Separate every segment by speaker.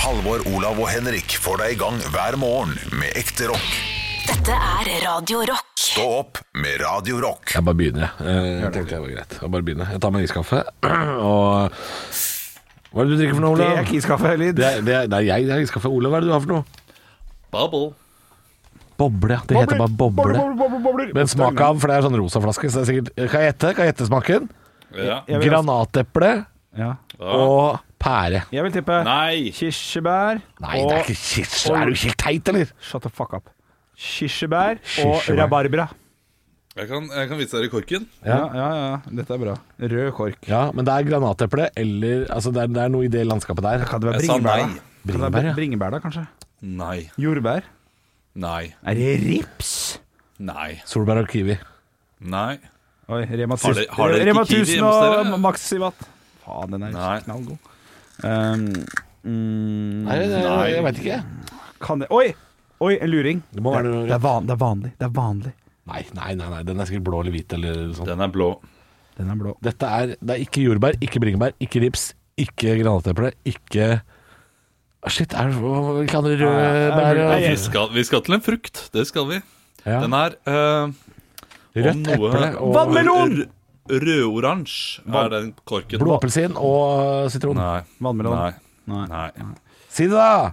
Speaker 1: Halvor, Olav og Henrik får deg i gang hver morgen med ekte rock.
Speaker 2: Dette er Radio Rock.
Speaker 1: Stå opp med Radio Rock.
Speaker 3: Jeg bare begynner, jeg. Eh, Jeg tenkte jeg var greit. Jeg bare begynner. Jeg tar meg en iskaffe, og Hva er det du drikker for noe,
Speaker 4: Det er
Speaker 3: Olav?
Speaker 4: ikke iskaffeelyd.
Speaker 3: Det er, det er, det er jeg, det er iskaffe. Olav, hva er det du har for noe?
Speaker 5: Bubble.
Speaker 3: Boble. Det heter bare boble. Men smak av, for det er sånn rosa flaske, så det er sikkert Kan jeg gjette? Kan jeg gjette smaken?
Speaker 5: Ja.
Speaker 4: Jeg vil-
Speaker 3: Granateple
Speaker 4: Ja.
Speaker 3: og pære.
Speaker 4: Jeg vil tippe
Speaker 5: Nei.
Speaker 4: kirsebær
Speaker 3: Nei,
Speaker 4: og
Speaker 3: det er ikke kirsebær. Er du helt teit, eller?
Speaker 4: Shut the fuck up. Kirsebær og
Speaker 3: Kirsebær.
Speaker 4: rabarbra.
Speaker 5: Jeg kan, jeg kan vise dere korken.
Speaker 4: Ja. ja, ja, Dette er bra. Rød kork.
Speaker 3: Ja, men det er granateple eller Altså, det er, det er noe i det landskapet der.
Speaker 4: Kan det være
Speaker 5: Jeg sa
Speaker 4: bringebær, da?
Speaker 5: nei.
Speaker 4: Kan det
Speaker 3: Bringebær, ja.
Speaker 4: være bringebær, da, kanskje?
Speaker 5: Nei.
Speaker 4: Jordbær?
Speaker 5: Nei.
Speaker 4: Er det rips?
Speaker 5: Nei.
Speaker 3: Solbær og kiwi.
Speaker 5: Nei.
Speaker 4: Oi, Rema 1000
Speaker 5: Har dere- har dere ikke
Speaker 4: Rema
Speaker 5: kiwi
Speaker 4: 1000
Speaker 5: hjemme hos dere?
Speaker 4: og Maxivat. Faen, den er
Speaker 5: Nei.
Speaker 4: knallgod. Um, mm,
Speaker 3: Nei, det, jeg veit ikke.
Speaker 4: kan det Oi! Oi, en luring.
Speaker 3: Det må være noe-
Speaker 4: det, er van, det er vanlig. Det er vanlig.
Speaker 3: Nei, nei, nei, nei, den er sikkert blå eller hvit eller sånn. noe sånt.
Speaker 5: Den er blå.
Speaker 4: Den er blå.
Speaker 3: Dette er, det er ikke jordbær, ikke bringebær, ikke rips, ikke granateple, ikke Ah, Shit, er det hvilke andre røde bær
Speaker 4: er
Speaker 3: og-
Speaker 5: Vi skal, vi skal til en frukt. Det skal vi.
Speaker 3: ja.
Speaker 5: Den er eh,
Speaker 3: Rødt
Speaker 5: om noe-
Speaker 3: eple og
Speaker 4: Vannmelon!
Speaker 5: r- Rødoransje er den korken.
Speaker 3: blåappelsin og eh, sitron.
Speaker 5: Nei.
Speaker 4: Vannmelon.
Speaker 5: Nei.
Speaker 4: Nei.
Speaker 5: Nei.
Speaker 3: Si det, da!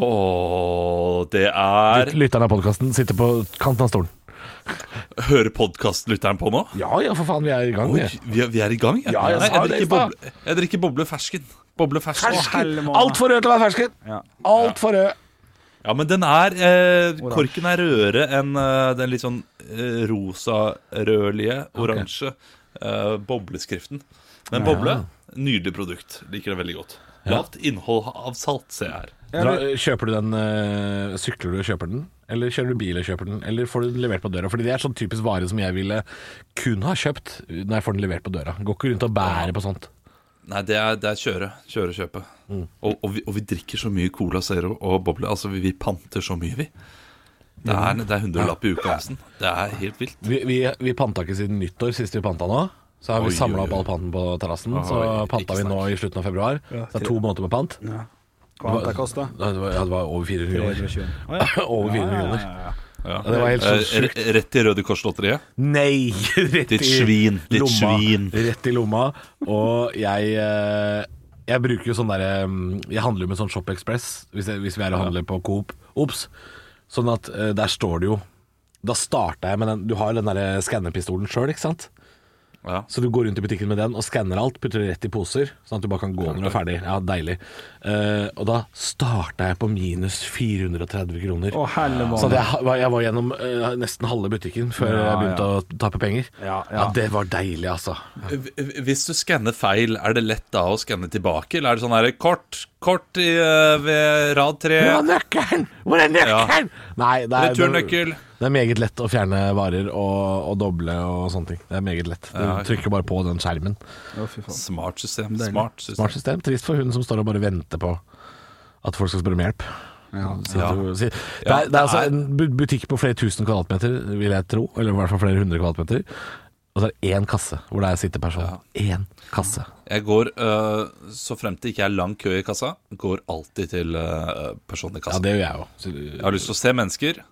Speaker 5: Åh, det er
Speaker 3: Lytteren av podkasten sitter på kanten av stolen.
Speaker 5: Hører podkastlytteren på nå?
Speaker 3: Ja ja, for faen, vi er i gang,
Speaker 5: Oi,
Speaker 3: vi.
Speaker 5: vi, er, vi er i gang, ja.
Speaker 3: Ja, jeg
Speaker 5: Nei,
Speaker 3: sa
Speaker 5: jeg,
Speaker 3: det i
Speaker 5: drikker
Speaker 3: stad.
Speaker 5: boble, jeg drikker boble fersken. Boble fersken.
Speaker 4: Hellemane.
Speaker 3: Altfor rød til å være fersken!
Speaker 4: Ja.
Speaker 3: Altfor rød.
Speaker 5: Ja, men den er eh, Korken er rødere enn eh, den litt sånn eh, rosa-rødlige, oransje eh, bobleskriften. Men boble, nydelig produkt. Liker det veldig godt. Lavt innhold av salt, ser jeg her.
Speaker 3: Dra, kjøper du den eh, Sykler du og kjøper den? Eller kjører du bil og kjøper den? Eller får du den levert på døra? Fordi det er sånn typisk vare som jeg ville kun ha kjøpt når jeg får den levert på døra. Går ikke rundt og bærer på sånt.
Speaker 5: Nei, det er, det er kjøre. Kjøre, kjøpe.
Speaker 3: Mm.
Speaker 5: Og, og, vi, og vi drikker så mye Cola Zero og boble. Altså, vi, vi panter så mye, vi. Det
Speaker 3: Mm.
Speaker 5: er, det er hundrelapp i uka, nesten. Det er helt vilt.
Speaker 3: Vi, vi, vi panta ikke siden nyttår, sist vi panta nå. Så har vi
Speaker 5: Oi,
Speaker 3: samla
Speaker 5: oi,
Speaker 3: opp
Speaker 5: oi.
Speaker 3: all panten på terrassen. Så
Speaker 5: Oi,
Speaker 3: panta
Speaker 5: ikke Mm.
Speaker 3: vi nå i slutten av februar. Så det er to måneder med pant.
Speaker 4: Hva har det kosta?
Speaker 3: Ja, Det var, ja, det var over 400 kroner.
Speaker 4: Å, ja.
Speaker 3: Over 400 kroner.
Speaker 5: Ja.
Speaker 3: det var helt så
Speaker 5: Eh, re- Rett i Røde Kors-lotteriet.
Speaker 3: Nei! Rett
Speaker 5: Ditt svin, ditt
Speaker 3: lomma.
Speaker 5: svin.
Speaker 3: Rett i lomma. Og jeg eh, Jeg bruker jo sånn derre mm, Jeg handler jo med sånn Shop Express hvis, jeg, hvis vi er og handler på Coop. Ops. Sånn at eh, der står det jo Da starta jeg med den Du har jo den derre skannepistolen sjøl, ikke sant?
Speaker 5: Ja.
Speaker 3: Så du går rundt i butikken med den og skanner alt, putter det rett i poser, sånn at du bare kan gå når du er ferdig. Ja, deilig. Eh, og da starta jeg på minus 430 kroner.
Speaker 4: Å, hellemane.
Speaker 3: så at jeg, ha- var- jeg var gjennom eh, nesten halve butikken før jeg begynte å tappe penger.
Speaker 4: Ja, ja.
Speaker 3: det var deilig, altså.
Speaker 5: Hv- Hvis du skanner feil, er det lett da å skanne tilbake? Eller er det sånn her kort, kort i, eh, ved rad tre?
Speaker 3: Hvor er nøkkelen?! Hvor er nøkkelen?! Nei, det er,
Speaker 5: Returnøkkel.
Speaker 3: det er meget lett å fjerne varer og, og doble og sånne ting. Det er meget lett. Du
Speaker 5: Ja, ok.
Speaker 3: trykker bare på den skjermen.
Speaker 4: Å, fy faen.
Speaker 5: Smart system. Smart system.
Speaker 3: Smart system. Trist for hun som står og bare venter på at folk skal spørre om hjelp. Sitter og- sier- Det, er,
Speaker 5: Ja,
Speaker 3: det er altså
Speaker 5: det er-
Speaker 3: en bu- butikk på flere tusen kvadratmeter, vil jeg tro. Eller i hvert fall flere hundre kvadratmeter. Og så er det én kasse hvor det er sitteperson. Én kasse.
Speaker 5: Jeg går, eh, så frem til ikke er lang kø i kassa, går alltid til eh, personen
Speaker 3: Ja,
Speaker 5: i kassa.
Speaker 3: det gjør jeg òg.
Speaker 5: Jeg har lyst til å se mennesker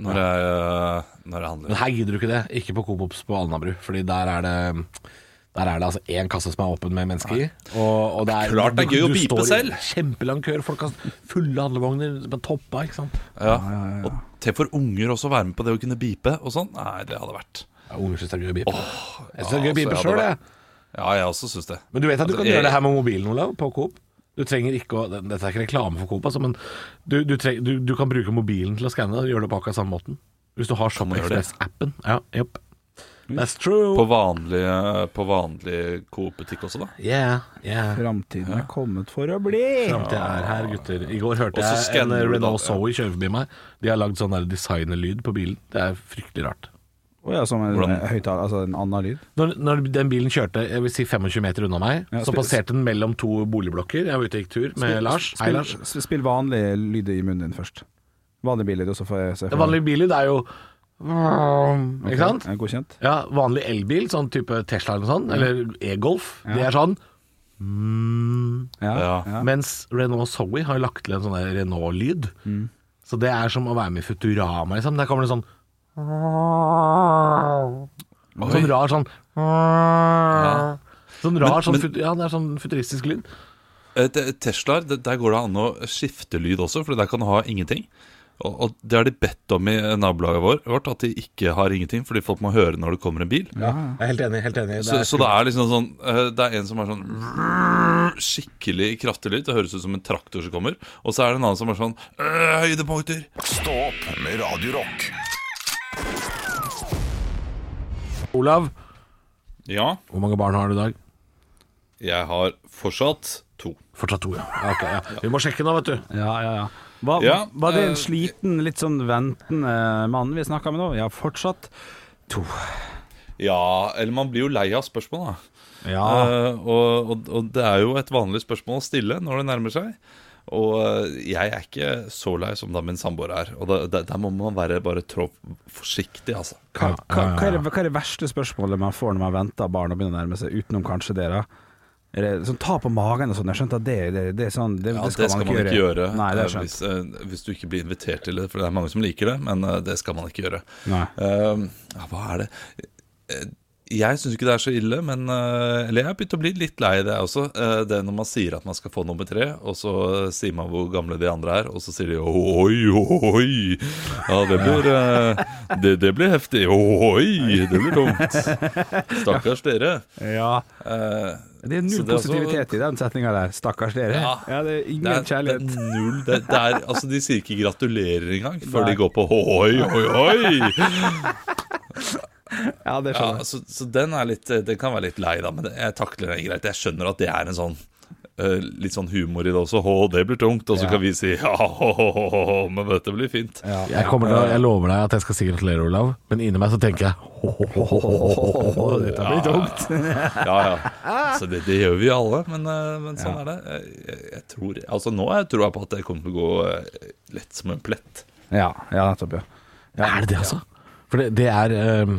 Speaker 5: når jeg, eh, når jeg
Speaker 3: Men
Speaker 5: handler.
Speaker 3: her gidder du ikke det. Ikke på Coops på Alnabru. Fordi der er det der er det altså én kasse som er åpen med mennesker i. Og, og det er,
Speaker 5: Klart det er gøy
Speaker 3: du
Speaker 5: å
Speaker 3: står
Speaker 5: bipe
Speaker 3: i
Speaker 5: selv.
Speaker 3: Kjempelang kø. Folk har fulle handlevogner på toppa. ikke sant?
Speaker 5: Ja. Og til for unger også å være med på det å kunne bipe og sånn. Nei, det hadde vært
Speaker 3: Ja, Unger syns det er gøy å bipe. jeg syns det er gøy å
Speaker 5: ja, altså, jeg
Speaker 3: bipe
Speaker 5: hadde
Speaker 3: sjøl,
Speaker 5: vært-
Speaker 3: jeg.
Speaker 5: Ja, jeg også syns det.
Speaker 3: Men du vet at du
Speaker 5: Altså,
Speaker 3: kan
Speaker 5: jeg-
Speaker 3: gjøre det her med mobilen, Olav, på Coop? Du trenger ikke å Dette er ikke reklame for Coop, altså, men du, du, treng, du, du kan bruke mobilen til å skanne og gjøre det på akkurat samme måten. Hvis du har Shop
Speaker 5: man gjøre det? Hm.
Speaker 3: Express-appen. Ja, jepp. That's true.
Speaker 5: På vanlig, eh, på vanlig Coop-butikk også, da.
Speaker 3: yeah, yeah.
Speaker 4: Framtiden er kommet for å bli.
Speaker 3: Frem til jeg er her, gutter. I går
Speaker 5: Og
Speaker 3: hørte
Speaker 5: så
Speaker 3: jeg en
Speaker 5: skanner du
Speaker 3: Renault
Speaker 5: da, ja.
Speaker 3: Zoe kjøre forbi meg. De har lagd sånn der designerlyd på bilen. Det er fryktelig rart.
Speaker 4: Å ja, som en
Speaker 5: Hvordan?
Speaker 4: høyttaler, altså en annen lyd.
Speaker 3: Når, når den bilen kjørte jeg vil si 25 meter unna meg,
Speaker 4: Ja,
Speaker 3: så
Speaker 4: spil-
Speaker 3: passerte den mellom to boligblokker. Jeg var ute og gikk tur med Eh, Lars. Hei,
Speaker 4: Spill,
Speaker 3: Lars.
Speaker 4: sp- spill vanlig lyd i munnen din først. Vanlig billyd, og så får jeg se.
Speaker 3: En vanlig billyd er jo Ikke sant?
Speaker 4: Ja, Godkjent.
Speaker 3: Ja, vanlig elbil, sånn type Tesla eller noe sånt, eller e-Golf, det er sånn mm,
Speaker 5: Ja.
Speaker 4: ja.
Speaker 3: Mens Renault Zoe har jo lagt til en sånn der Renault-lyd.
Speaker 5: Mm.
Speaker 3: Så det er som å være med i Futurama, liksom. Der kommer det sånn Sånn rar sånn Sånn rar
Speaker 5: Men-
Speaker 3: sånn,
Speaker 5: men-
Speaker 3: fut- Ja, det er sånn futuristisk lyd.
Speaker 5: Eh, te- Teslaer, det- der går det an å skifte lyd også, for der kan du ha ingenting. Og, og det har de bedt om i nabolaget vår- vårt, at de ikke har ingenting, fordi folk må høre når det kommer en bil.
Speaker 3: Jeg er helt enig. helt enig
Speaker 5: Så, så det er liksom sånn eh, Det er en som er sånn skikkelig kraftig lyd. Det høres ut som en traktor som kommer. Og så er det en annen som er sånn «Øh, høydepunkter.
Speaker 1: Stå opp med Radio Rock.
Speaker 3: Olav,
Speaker 5: Ja,
Speaker 3: hvor mange barn har du i dag?
Speaker 5: jeg har fortsatt to.
Speaker 3: Fortsatt to, ja. Ja, ok, ja. Vi må sjekke nå, vet du.
Speaker 4: Ja, ja, ja. Var,
Speaker 5: Ja,
Speaker 4: var det
Speaker 5: eh,
Speaker 4: en sliten, litt sånn ventende mann vi snakka med nå? Ja, fortsatt.
Speaker 5: Ja, eller man blir jo lei av spørsmål, da.
Speaker 3: Ja.
Speaker 5: Eh, og, og, og det er jo et vanlig spørsmål å stille når det nærmer seg. Og eh, jeg er ikke så lei som da min samboer er. Og da- da- der må man være bare trå forsiktig, altså.
Speaker 4: Hva,
Speaker 3: Ja,
Speaker 4: hva,
Speaker 3: ja,
Speaker 4: hva, er
Speaker 3: ja.
Speaker 4: det, hva er det verste spørsmålet man får når man venter barn og begynner å nærme seg, utenom kanskje dere? Er det Sånn, ta på magen og sånn. Jeg skjønte at det, det, det er sånn det,
Speaker 5: Ja,
Speaker 4: det, skal man ikke gjøre. Nei, det
Speaker 5: eh,
Speaker 4: er skjønt.
Speaker 5: hvis, eh, hvis du ikke blir invitert til det, for det er mange som liker det, men eh, det skal man ikke gjøre.
Speaker 4: Nei.
Speaker 5: Eh, ja, hva er det Eh, Jeg syns ikke det er så ille, men eh, Eller jeg har begynt å bli litt lei det også. eh, det når man sier at man skal få nummer tre, og så eh, sier man hvor gamle de andre er, og så sier de oi, oi. Ja, det blir, eh, det, det blir heftig. Oi, det blir tungt. Stakkars dere.
Speaker 4: Ja,
Speaker 5: Eh,
Speaker 4: det er
Speaker 5: så
Speaker 4: null
Speaker 5: det er også-
Speaker 4: positivitet i den setninga der. Stakkars dere. Ja,
Speaker 5: Ja.
Speaker 4: det er ingen
Speaker 5: det er,
Speaker 4: kjærlighet.
Speaker 5: Det er null, det, det er, altså, de sier ikke gratulerer engang før
Speaker 4: Nei.
Speaker 5: de går på oi, oi, oi.
Speaker 4: Ja, det
Speaker 5: Ja, altså,
Speaker 4: skjønner jeg.
Speaker 5: så, så den, er litt, eh, den kan være litt lei, da, men det- jeg takler det greit. Jeg skjønner at det er en sånn eh, litt sånn humor i det også. Å, det blir tungt. Og så
Speaker 4: Ja.
Speaker 5: kan vi si ja, ho, ho, ho, ho, ho, men dette blir fint.
Speaker 4: Ja.
Speaker 3: Jeg, kommer til, å- jeg lover deg at jeg skal si gratulere, Olav, men inni meg så tenker jeg «Hohohohoho, Dette blir tungt.
Speaker 5: Ja, ja. Så det, det gjør vi alle, men, eh, men sånn er det. Jeg, jeg, jeg tror, altså Nå har jeg troa på at det kommer til å gå eh, lett som en plett.
Speaker 4: Ja, ja, nettopp, ja.
Speaker 3: Er det det, altså? For det, det er ehm,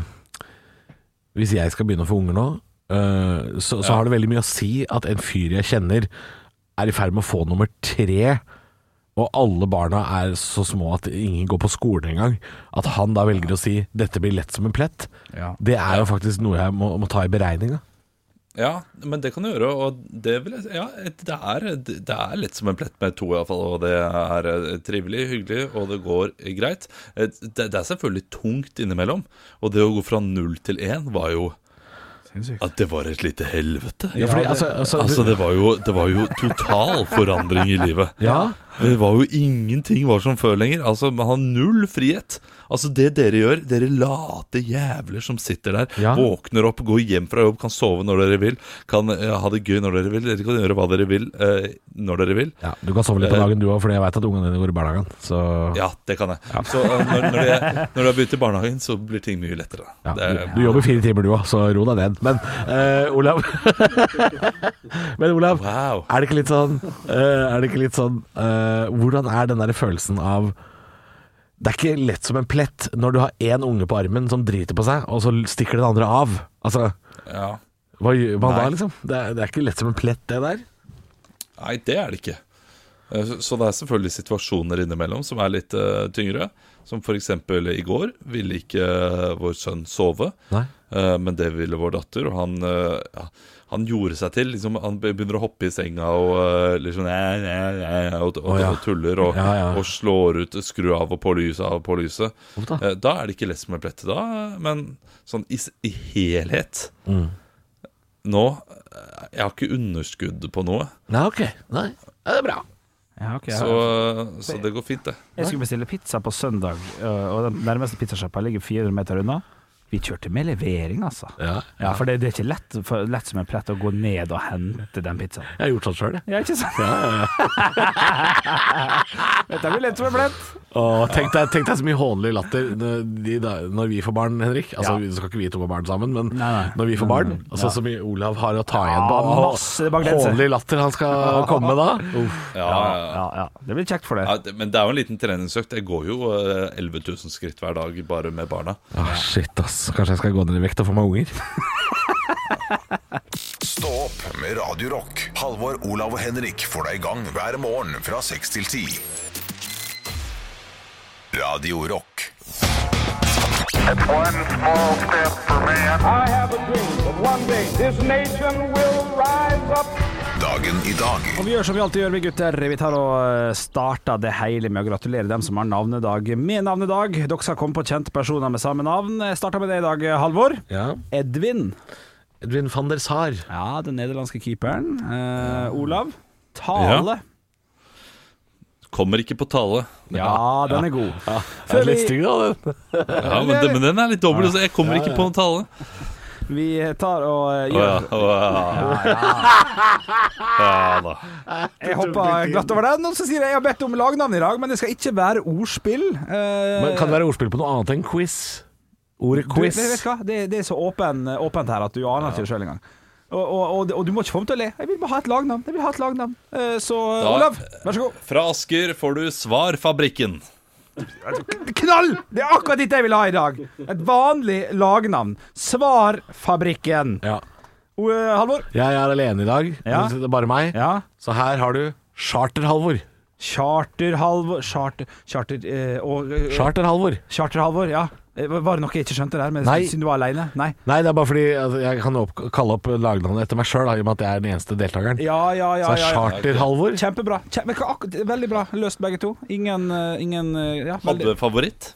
Speaker 3: Hvis jeg skal begynne å få unger nå, eh, så, så har det veldig mye å si at en fyr jeg kjenner, er i ferd med å få nummer tre, og alle barna er så små at ingen går på skolen engang. At han da velger å si 'dette blir lett som en plett',
Speaker 4: Ja.
Speaker 3: det er jo faktisk noe jeg må, må ta i beregninga.
Speaker 5: Ja, men det kan du gjøre, og det vil jeg si. Ja, det er, det er litt som en plett med to, iallfall. Og det er eh, trivelig, hyggelig, og det går eh, greit. Eh, Det, det er selvfølgelig tungt innimellom, og det å gå fra null til én var jo
Speaker 4: Sinnssykt.
Speaker 5: at det var et lite helvete.
Speaker 3: Ja, fordi, altså, altså,
Speaker 5: Altså, det var, jo, det var jo total forandring i livet.
Speaker 3: Ja.
Speaker 5: Det var jo ingenting var som før lenger. Altså, Man har null frihet. Altså, det dere gjør, dere late jævler som sitter der,
Speaker 3: Ja.
Speaker 5: våkner opp, går hjem fra jobb, kan sove når dere vil, kan eh, ha det gøy når dere vil, dere kan gjøre hva dere vil eh, når dere vil.
Speaker 3: ja, du kan sove litt på
Speaker 4: Eh,
Speaker 3: dagen du òg, fordi jeg veit at ungene dine går i barnehagen. Så
Speaker 5: Ja, det kan jeg. Så eh, når, når, jeg, når jeg har begynt i barnehagen, så blir ting mye lettere.
Speaker 3: Ja,
Speaker 5: Det
Speaker 3: du,
Speaker 5: er-
Speaker 3: du jobber fire timer du òg, så ro deg ned. Men eh, Olav Men Olav,
Speaker 5: Wow.
Speaker 3: er det ikke litt sånn, eh, er det ikke litt sånn eh, Hvordan er den der følelsen av Det er ikke lett som en plett når du har én unge på armen som driter på seg, og så stikker den andre av. Altså,
Speaker 5: Ja.
Speaker 3: hva gjør man da,
Speaker 5: Nei.
Speaker 3: liksom? Det er, det er ikke lett som en plett, det der.
Speaker 5: Nei, det er det ikke. Eh, så- Så det er selvfølgelig situasjoner innimellom som er litt eh, tyngre. Som f.eks. i går ville ikke eh, vår sønn sove.
Speaker 3: Nei.
Speaker 5: Eh, Men det ville vår datter, og han, eh, ja, han gjorde seg til. Liksom, han be- begynner å hoppe i senga og, eh, liksom, "Æ, æ, æ, æ", og, og,
Speaker 3: Å, ja.
Speaker 5: og tuller og,
Speaker 3: Ja, ja.
Speaker 5: og slår ut, skru av og på lyset, av og på lyset.
Speaker 3: Uff da.
Speaker 5: Eh, Da er det ikke lett som en plett, da, men sånn i, s- i helhet
Speaker 3: Mm.
Speaker 5: Nå eh, Jeg har ikke underskudd på noe,
Speaker 3: Nei, ok. Nei. Ja, det er bra.
Speaker 4: Ja, ok, ja.
Speaker 5: så, så det går fint, det.
Speaker 4: Jeg skulle bestille pizza på søndag, øh, og den nærmeste pizzasjappa ligger 400 meter unna. Vi kjørte med levering, altså.
Speaker 3: Ja.
Speaker 4: Ja, for det, det er ikke lett, for, lett som en plett å gå ned og hente den pizzaen.
Speaker 3: Jeg har gjort sånn sjøl, jeg.
Speaker 4: Ja, ikke sant? Dette blir lett som en plett.
Speaker 3: Åh, tenk, deg, tenk deg så mye hånlig latter når, de, da- når vi får barn, Henrik. Altså,
Speaker 4: Ja.
Speaker 3: Så skal ikke vi to få barn sammen, men
Speaker 4: Nei, nei. Mm.
Speaker 3: når vi får barn, altså, så mye Olav har å ta igjen på
Speaker 4: Ja,
Speaker 3: Åh,
Speaker 4: masse baklenser.
Speaker 3: Hånlig latter han skal komme med da.
Speaker 4: Ja,
Speaker 5: Ja, ja, ja.
Speaker 4: ja, ja. Det blir kjekt for det.
Speaker 5: Ja, det- men det er jo en liten treningsøkt. Jeg går jo eh, 11 000 skritt hver dag bare med barna.
Speaker 3: Åh, shit, ass. Kanskje jeg skal gå ned i vekt og få meg unger.
Speaker 1: Stå opp med Radio Rock. Halvor, Olav og Henrik får deg i gang hver morgen fra 6 til 10. Radio Rock.
Speaker 6: One small step for man.
Speaker 7: I have a dream that one day this nation will rise up.
Speaker 1: Dagen i dag.
Speaker 4: Og vi gjør som vi alltid gjør, vi gutter. Vi tar og eh, starter det hele med å gratulere dem som har navnedag med navnedag. Dere skal komme på kjente personer med samme navn. Jeg starter med det i dag, Halvor.
Speaker 3: Ja.
Speaker 4: Edvin.
Speaker 3: Edvin van der Sar.
Speaker 4: Ja, den nederlandske keeperen. Eh, Olav. Tale.
Speaker 5: Kommer ikke på tale.
Speaker 4: Ja, den er god. Før
Speaker 3: Litt
Speaker 4: vi,
Speaker 3: stygg, da, den.
Speaker 5: Ja, men, den- men den er litt dobbel. Så jeg kommer ikke på en tale.
Speaker 4: vi tar og eh,
Speaker 5: Å, ja.
Speaker 4: gjør
Speaker 5: Å, ja. ja da.
Speaker 4: Jeg hopper glatt over den. Og så sier jeg jeg har bedt om lagnavn i dag, men det skal ikke være ordspill. Eh,
Speaker 3: Men kan det være ordspill på noe annet enn quiz? Ordet
Speaker 4: Du,
Speaker 3: quiz.
Speaker 4: men vet du hva? Det, det er så åpen, åpent her at du aner ikke det sjøl engang. Og, og, og, og du må ikke få meg til å le. Jeg vil bare ha et lagnavn. Jeg vil ha et lagnavn. Eh, Så
Speaker 5: Da-
Speaker 4: Olav, vær så god.
Speaker 5: Fra Asker får du Svarfabrikken.
Speaker 4: Knall! Det er akkurat ditt jeg vil ha i dag. Et vanlig lagnavn. Svarfabrikken.
Speaker 3: Ja.
Speaker 4: O- eh, Halvor?
Speaker 3: Jeg er alene i dag.
Speaker 4: Ja.
Speaker 3: Det er bare meg.
Speaker 4: Ja?
Speaker 3: Så her har du Charter-Halvor.
Speaker 4: Charter-Halvor Charter... Charter... eh, og, eh,
Speaker 3: Charter-Halvor.
Speaker 4: Charter-Halvor, ja. Eh, Var det noe jeg ikke skjønte der, men
Speaker 3: Nei.
Speaker 4: siden du var aleine? Nei.
Speaker 3: Nei, det er bare fordi altså, jeg kan opp kalle opp lagnavnet etter meg sjøl, i og med at jeg er den eneste deltakeren.
Speaker 4: Ja, ja, ja.
Speaker 3: Så
Speaker 4: ja,
Speaker 3: er
Speaker 4: ja.
Speaker 3: Charter-Halvor
Speaker 4: Kjempebra. Kjempe, akkurat- veldig bra løst, begge to. Ingen, eh, ingen eh, ja, veldig-
Speaker 5: Hadde favoritt?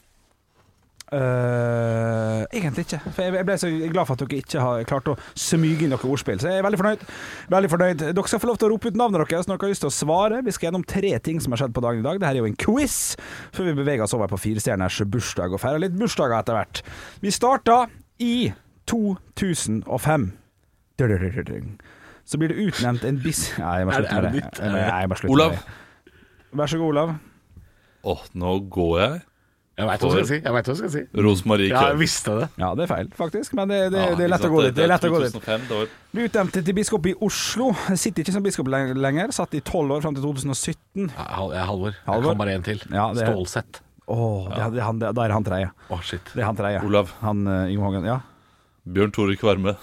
Speaker 4: Eh, egentlig ikke. For jeg jeg ble så glad for at dere ikke har klart å smyge inn noe ordspill. Så jeg er veldig fornøyd. veldig fornøyd. Dere skal få lov til å rope ut navnet deres når dere har lyst til å svare. Vi skal gjennom tre ting som har skjedd på dagen i dag. Dette er jo en quiz, før vi beveger oss over på firestjerners bursdag og feirer litt bursdager etter hvert. Vi starta i 2005. Dududududung. Så blir det utnevnt en bis... Nei, jeg må
Speaker 3: Er det-
Speaker 4: slutte
Speaker 3: er
Speaker 4: med
Speaker 3: det
Speaker 4: det.
Speaker 3: nytt?
Speaker 4: Jeg må- jeg må slutte med
Speaker 5: Olav?
Speaker 4: det. Vær så god, Olav.
Speaker 5: Åh, nå går jeg.
Speaker 3: Jeg veit hva du skal si. Jeg vet hva du skal si.
Speaker 5: Rosmarie
Speaker 3: Ja, jeg
Speaker 5: Køhn.
Speaker 3: visste det.
Speaker 4: Ja, det er feil, faktisk, men det, det,
Speaker 5: Ja,
Speaker 4: det er
Speaker 5: ikke
Speaker 4: lett å
Speaker 5: sant?
Speaker 4: gå dit. Det er lett å gå dit.
Speaker 5: 2005, det var-
Speaker 4: Ble utnevnt til biskop i Oslo. Sitter ikke som biskop leng- lenger. Satt i tolv år fram til 2017.
Speaker 3: Ja, Hal- jeg er Halvor. Jeg
Speaker 4: Halvor?
Speaker 3: kan bare én til.
Speaker 4: Ja, det er-
Speaker 3: Stålsett.
Speaker 4: Åh, det, det, er han, det, da er han tredje.
Speaker 3: Å, shit.
Speaker 4: Det er han tredje.
Speaker 5: Olav.
Speaker 4: Han eh, Yngve Hågen. Ja.
Speaker 5: Bjørn Tore Kvarme.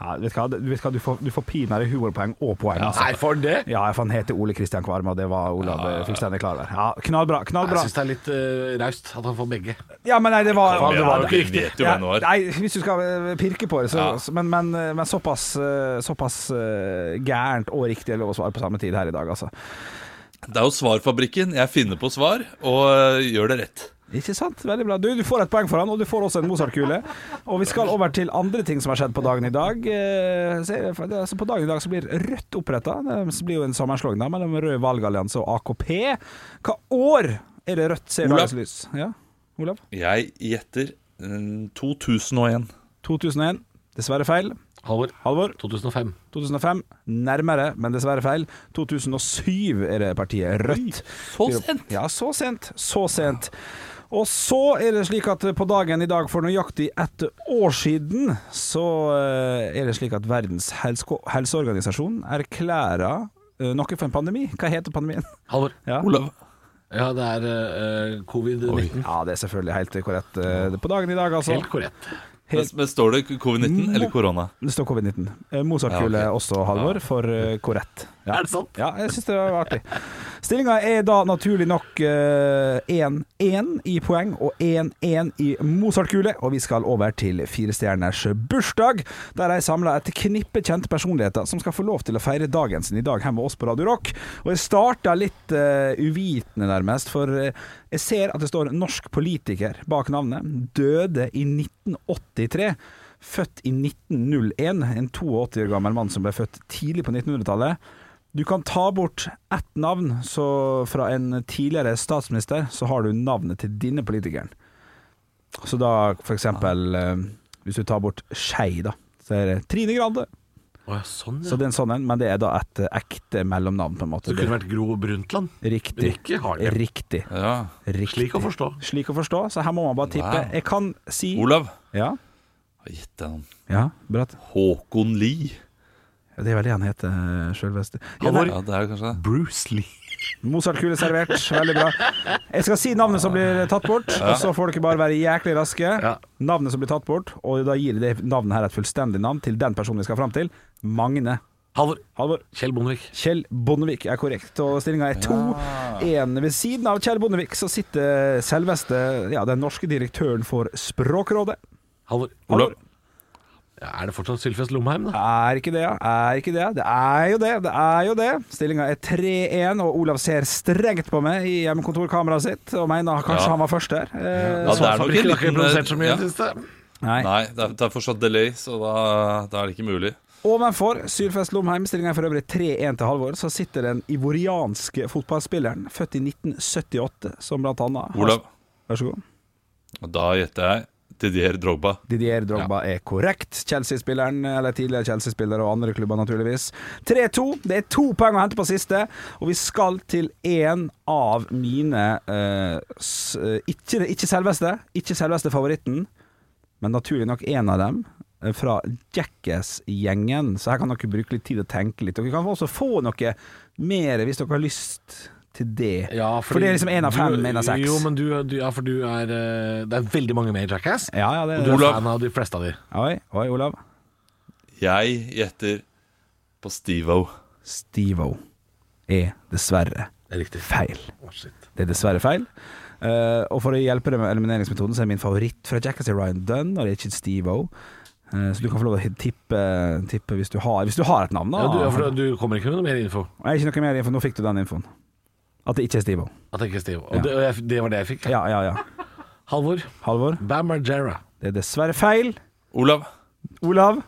Speaker 4: ja vet du hva, du, vet hva? du får, du får pinadø humorpoeng og poeng. Ja, altså.
Speaker 3: Nei, for det!
Speaker 4: ja, for han heter Ole Kristian Kvarme, og det var Olav ja, fullstendig klar over. Ja, knallbra.
Speaker 3: Jeg
Speaker 4: knallbra
Speaker 3: syns det er litt uh, raust at han får begge.
Speaker 4: Ja, men nei, det var,
Speaker 5: Kom igjen,
Speaker 4: ja,
Speaker 5: du vet jo hvem det var.
Speaker 4: Nei, hvis du skal eh, pirke på det, så,
Speaker 5: Ja.
Speaker 4: så- men, men, eh, men såpass, eh, såpass eh, gærent og riktig er lov å svare på samme tid her i dag, altså.
Speaker 5: Det er jo Svarfabrikken. Jeg finner på svar og øh, gjør det rett.
Speaker 4: Ikke sant? Veldig bra. Du, du får et poeng for han, og du får også en Mozart-kule. Og vi skal over til andre ting som har skjedd på dagen i dag. Eh, så er det- for det- Altså, på dagen i dag så blir Rødt oppretta. Det blir jo en sammenslåing da, mellom Rød valgallianse og AKP. Hva år er det Rødt ser
Speaker 5: Olav.
Speaker 4: dagens lys? Ja, Olav?
Speaker 5: Jeg gjetter mm, 2001.
Speaker 4: 2001. Dessverre feil.
Speaker 3: Halvor.
Speaker 4: Halvor?
Speaker 3: 2005.
Speaker 4: 2005. Nærmere, men dessverre feil. 2007 er det partiet Rødt.
Speaker 5: Så sent!
Speaker 4: Ja, så sent. Så sent. Og så er det slik at på dagen i dag for nøyaktig ett år siden, så eh, er det slik at Verdens helsko- helseorganisasjon erklærer eh, noe for en pandemi. Hva heter pandemien?
Speaker 3: Halvor.
Speaker 4: Ja.
Speaker 5: Olav.
Speaker 3: Ja, det er eh, covid-19.
Speaker 4: Ja, det er selvfølgelig helt korrekt. eh, det er På dagen i dag, altså.
Speaker 3: Helt korrekt.
Speaker 5: Men, men står det
Speaker 4: Mm.
Speaker 5: covid-19 eller korona?
Speaker 4: Det står covid-19. Eh, Mozart-kule
Speaker 5: Ja, ok.
Speaker 4: også, Halvor, for eh, korrekt. Ja.
Speaker 3: Er det sant?
Speaker 4: Ja, jeg syns det var artig. Stillinga er da naturlig nok eh, 1-1 i poeng og 1-1 i Mozart-kule, og vi skal over til firestjerners bursdag, der jeg samla et knippe kjente personligheter som skal få lov til å feire dagen sin i dag her med oss på Radio Rock. Og jeg starta litt eh, uvitende, nærmest, for eh, jeg ser at det står norsk politiker bak navnet. Døde i 1983. Født i 1901. En 82 år gammel mann som ble født tidlig på 1900-tallet. Du kan ta bort ett navn så fra en tidligere statsminister, så har du navnet til denne politikeren. Så da for eksempel
Speaker 3: Ah.
Speaker 4: eh, Hvis du tar bort Skei, da, så er det Trine Grande.
Speaker 3: Å ja, sånn,
Speaker 4: Så
Speaker 3: ja.
Speaker 4: det er en sånn en, men det er da et eh, ekte mellomnavn, på en måte.
Speaker 3: Det kunne vært Gro Brundtland.
Speaker 4: Riktig.
Speaker 3: Rikke har det.
Speaker 4: Riktig.
Speaker 5: Ja.
Speaker 4: Riktig.
Speaker 3: Slik å forstå.
Speaker 4: Slik å forstå, så her må man bare tippe.
Speaker 5: Wow.
Speaker 4: Jeg kan si
Speaker 5: Olav.
Speaker 4: Ja,
Speaker 5: Hva gjetter han?
Speaker 4: ja Bratt.
Speaker 5: Håkon Lie.
Speaker 4: Ja, Det er vel det han heter, eh, sjølveste. Ja,
Speaker 5: Ja,
Speaker 4: nei,
Speaker 5: det er jo kanskje det.
Speaker 3: Bruce Lee.
Speaker 4: Mozartkule servert. Veldig bra. Jeg skal si navnet som blir tatt bort, og så får dere bare være jæklig raske.
Speaker 3: Ja.
Speaker 4: Navnet som blir tatt bort, og da gir det navnet her et fullstendig navn til den personen vi skal fram til. Magne.
Speaker 3: Halvor.
Speaker 4: Halvor.
Speaker 3: Kjell Bondevik.
Speaker 4: Kjell Bondevik er korrekt, og stillinga er 2-1. Ved siden av Kjell Bondevik så sitter selveste ja, den norske direktøren for Språkrådet.
Speaker 3: Halvor.
Speaker 5: Olav.
Speaker 3: Ja, er det fortsatt Sylfest Lomheim, da?
Speaker 4: Er ikke det, ja. Er ikke det. Det er jo det. Det er jo det. Stillinga er 3-1, og Olav ser strengt på meg i hjemmekontorkameraet sitt og mener kanskje
Speaker 5: Ja.
Speaker 4: han var først der. Eh,
Speaker 5: Ja, det
Speaker 3: Fabrikken
Speaker 5: er nok
Speaker 3: har
Speaker 5: en
Speaker 3: ikke
Speaker 5: liten-
Speaker 3: produsert så mye i
Speaker 5: ja.
Speaker 3: det siste.
Speaker 4: Nei.
Speaker 5: Nei, det er, det er fortsatt delay, så da, da er det ikke mulig.
Speaker 4: Ovenfor Sylfest Lomheim, stillinga er for øvrig 3-1 til Halvor, så sitter den ivorianske fotballspilleren født i 1978, som blant annet
Speaker 5: Olav.
Speaker 4: Vær så god.
Speaker 5: Og da gjetter jeg Didier Drogba.
Speaker 4: Didier Drogba er korrekt. Chelsea-spilleren, eller tidligere Chelsea-spiller og andre klubber, naturligvis. 3-2. Det er to poeng å hente på siste, og vi skal til en av mine eh, s eh, ikke, ikke selveste, ikke selveste favoritten, men naturlig nok en av dem. eh, Fra Jackass-gjengen, så her kan dere bruke litt tid og tenke litt. Dere kan også få noe mer hvis dere har lyst til det. for det er liksom én av fem,
Speaker 3: du-
Speaker 4: én av seks.
Speaker 3: Jo, men du, du, ja, for du er eh, Det er veldig mange med i Jackass.
Speaker 4: Ja, ja, det
Speaker 3: Og du er
Speaker 5: Olav.
Speaker 3: fan av de fleste av de.
Speaker 4: Oi, oi, Olav.
Speaker 5: Jeg gjetter på Steve-O.
Speaker 4: Steve-O er dessverre
Speaker 3: Det er riktig.
Speaker 4: feil.
Speaker 3: Å, shit.
Speaker 4: Det er dessverre feil. Eh, og for å hjelpe deg med elimineringsmetoden, så er min favoritt fra Jackass er Ryan Dunn, og det er ikke Steve-O. Eh, så du kan få lov å tippe, tippe hvis, du har, hvis du har et navn, da.
Speaker 3: Ja, du, ja, for du du kommer ikke med noe mer info?
Speaker 4: Og jeg er ikke noe mer info. Nå fikk du den infoen. At det ikke er Steve-O.
Speaker 3: At det ikke er Steve. Og det, og jeg, det var det jeg fikk.
Speaker 4: Ja, ja, ja.
Speaker 3: Halvor.
Speaker 4: Halvor,
Speaker 3: Bam Margera.
Speaker 4: det er dessverre feil.
Speaker 5: Olav.
Speaker 4: Olav,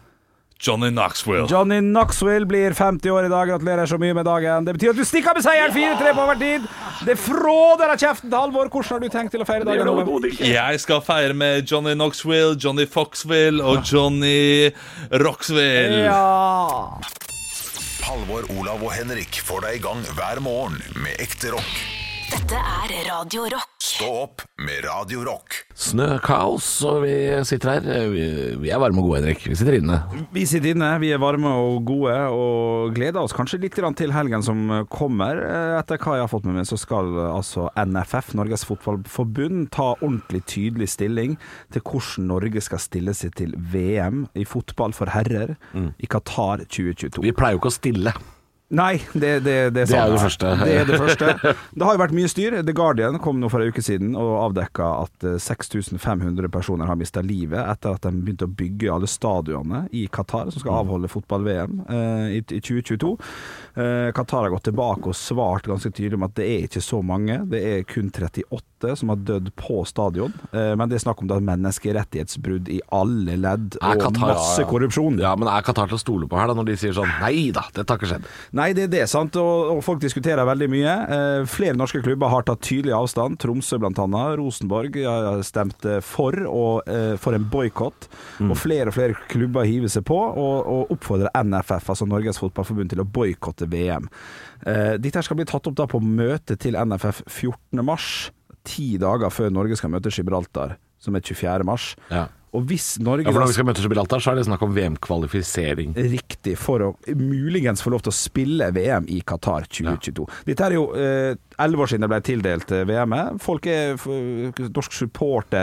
Speaker 5: Johnny Knoxville.
Speaker 4: Johnny Knoxville blir 50 år i dag. Gratulerer så mye med dagen. Det betyr at du stikker av med seieren 4-3 på overtid. Det fråder av kjeften til Halvor. Hvordan har du tenkt til å feire dagen? Olav?
Speaker 5: Jeg skal feire med Johnny Knoxville, Johnny Foxville og Johnny Roxville.
Speaker 4: Ja.
Speaker 1: Halvor, Olav og Henrik får deg i gang hver morgen med ekte rock.
Speaker 2: Dette er Radio Rock.
Speaker 1: Stå opp med Radio Rock.
Speaker 3: Snøkaos, og vi sitter her. Eh, Vi, vi er varme og gode, Henrik. Vi sitter inne.
Speaker 4: Vi sitter inne, vi er varme og gode og gleder oss kanskje litt grann til helgen som kommer. Eh, Etter hva jeg har fått med meg, så skal eh, altså NFF, Norges Fotballforbund, ta ordentlig tydelig stilling til hvordan Norge skal stille seg til VM i fotball for herrer i Qatar 2022.
Speaker 3: Vi pleier jo ikke å stille.
Speaker 4: Nei, det, det, det,
Speaker 3: Det er
Speaker 4: sant.
Speaker 3: jo det første.
Speaker 4: Det er det første. Det har jo vært mye styr. The Guardian kom nå for en uke siden og avdekka at eh, 6500 personer har mista livet etter at de begynte å bygge alle stadionene i Qatar som
Speaker 3: Mm.
Speaker 4: skal avholde fotball-VM eh, i, i 2022. Eh, Qatar har gått tilbake og svart ganske tydelig om at det er ikke så mange. Det er kun 38 som har dødd på stadion. Eh, men det er snakk om da menneskerettighetsbrudd i alle ledd
Speaker 3: Er
Speaker 4: og
Speaker 3: Qatar-
Speaker 4: masse korrupsjon.
Speaker 3: Ja, men er Qatar til å stole på her, da, når de sier sånn Nei da, dette har ikke skjedd.
Speaker 4: Nei, det er det, sant. Og, og folk diskuterer veldig mye. Eh, flere norske klubber har tatt tydelig avstand. Tromsø blant annet. Rosenborg har stemt eh, for, og, eh, for en boikott.
Speaker 3: Mm.
Speaker 4: Og flere og flere klubber hiver seg på og, og oppfordrer NFF, altså Norges Fotballforbund, til å boikotte VM. Eh, dette her skal bli tatt opp da på møtet til NFF 14.3, ti dager før Norge skal møte Gibraltar, som er 24.3.
Speaker 3: Ja.
Speaker 4: Og hvis Norge
Speaker 3: Ja, for
Speaker 4: da
Speaker 3: Når vi skal møte Gibraltar, så er det snakk om VM-kvalifisering.
Speaker 4: riktig for å muligens få lov til å spille VM i Qatar 2022. Dette er jo eh, elleve år siden det ble tildelt eh, VM-et. Folk er f eh, Norsk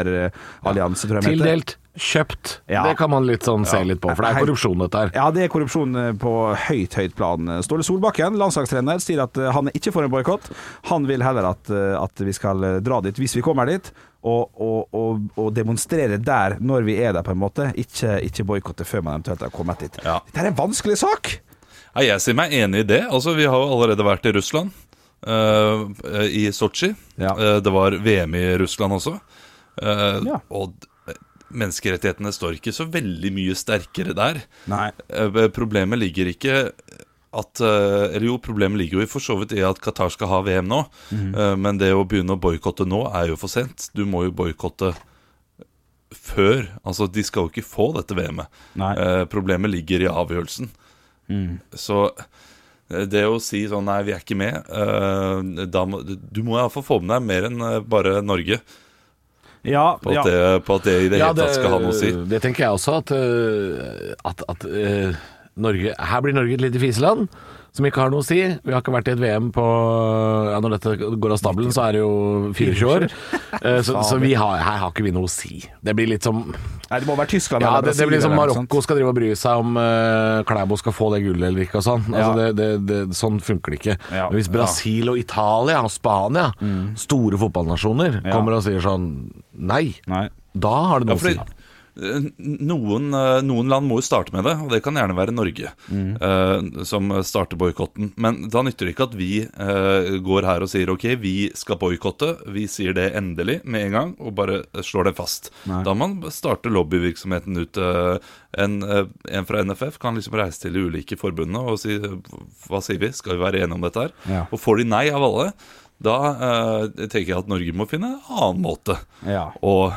Speaker 4: supporterallianse, tror jeg de heter.
Speaker 3: Tildelt, kjøpt.
Speaker 4: Ja.
Speaker 3: Det kan man litt sånn se litt på, for det er
Speaker 4: Hei.
Speaker 3: korrupsjon, dette her.
Speaker 4: Ja, det er korrupsjon eh, på høyt, høyt plan. Ståle Solbakken, landslagstrener, sier at eh, han er ikke for en boikott. Han vil heller at, eh, at vi skal eh, dra dit, hvis vi kommer dit, og, og, og, og demonstrere der når vi er der, på en måte. Ikke, ikke boikotte før man eventuelt har kommet dit.
Speaker 5: Ja.
Speaker 4: Dette er en vanskelig sak!
Speaker 5: Ja, jeg sier meg enig i det. Altså, Vi har jo allerede vært i Russland, eh, i Sotsji.
Speaker 4: Ja.
Speaker 5: Eh, det var VM i Russland også. Eh,
Speaker 4: Ja.
Speaker 5: Og d- menneskerettighetene står ikke så veldig mye sterkere der.
Speaker 4: Nei.
Speaker 5: Eh, problemet ligger ikke at eh, Eller jo, problemet ligger jo i for så vidt i at Qatar skal ha VM nå. Eh, men det å begynne å boikotte nå er jo for sent. Du må jo boikotte før. Altså, de skal jo ikke få dette VM-et.
Speaker 4: Nei.
Speaker 5: Eh, problemet ligger i avgjørelsen. Så eh, det å si sånn Nei, vi er ikke med. eh, da må, du må iallfall få med deg mer enn eh, bare Norge
Speaker 4: Ja,
Speaker 5: på at,
Speaker 4: ja.
Speaker 5: det, på at det i det
Speaker 3: Ja,
Speaker 5: hele tatt skal ha noe å si.
Speaker 3: det eh, tenker jeg også, at, øh, at, at øh, Norge Her blir Norge et lite fiseland som ikke har noe å si. Vi har ikke vært i et VM på ja, Når dette går av stabelen, så er det jo 24 år. Eh, Så, så vi har, her har ikke vi noe å si. Det blir litt som
Speaker 4: Nei, det må være Tyskland
Speaker 3: ja,
Speaker 4: eller
Speaker 3: det, det
Speaker 4: Brasil
Speaker 3: blir som
Speaker 4: eller noe sånt.
Speaker 3: Marokko skal drive og bry seg om eh, Klæbo skal få det gullet eller ikke og sånn. Altså,
Speaker 4: Ja.
Speaker 3: det, det, det, sånn funker det ikke.
Speaker 4: Ja.
Speaker 3: Men hvis Brasil og Italia og Spania, store fotballnasjoner,
Speaker 4: Ja.
Speaker 3: kommer og sier sånn nei,
Speaker 4: Nei.
Speaker 3: da har det
Speaker 5: Ja,
Speaker 3: noe å
Speaker 5: fordi,
Speaker 3: si.
Speaker 5: eh, noen, eh, noen land må jo starte med det, og det kan gjerne være Norge eh, som starter boikotten. Men da nytter det ikke at vi eh, går her og sier ok, vi skal boikotte. Vi sier det endelig med en gang og bare slår det fast. Da må man starte lobbyvirksomheten ut. eh, En, eh, en fra NFF kan liksom reise til de ulike forbundene og si hva sier vi, skal vi være enige om dette her?
Speaker 4: Ja.
Speaker 5: Og får de nei av alle, da eh, tenker jeg at Norge må finne en annen måte
Speaker 4: Ja.
Speaker 5: og,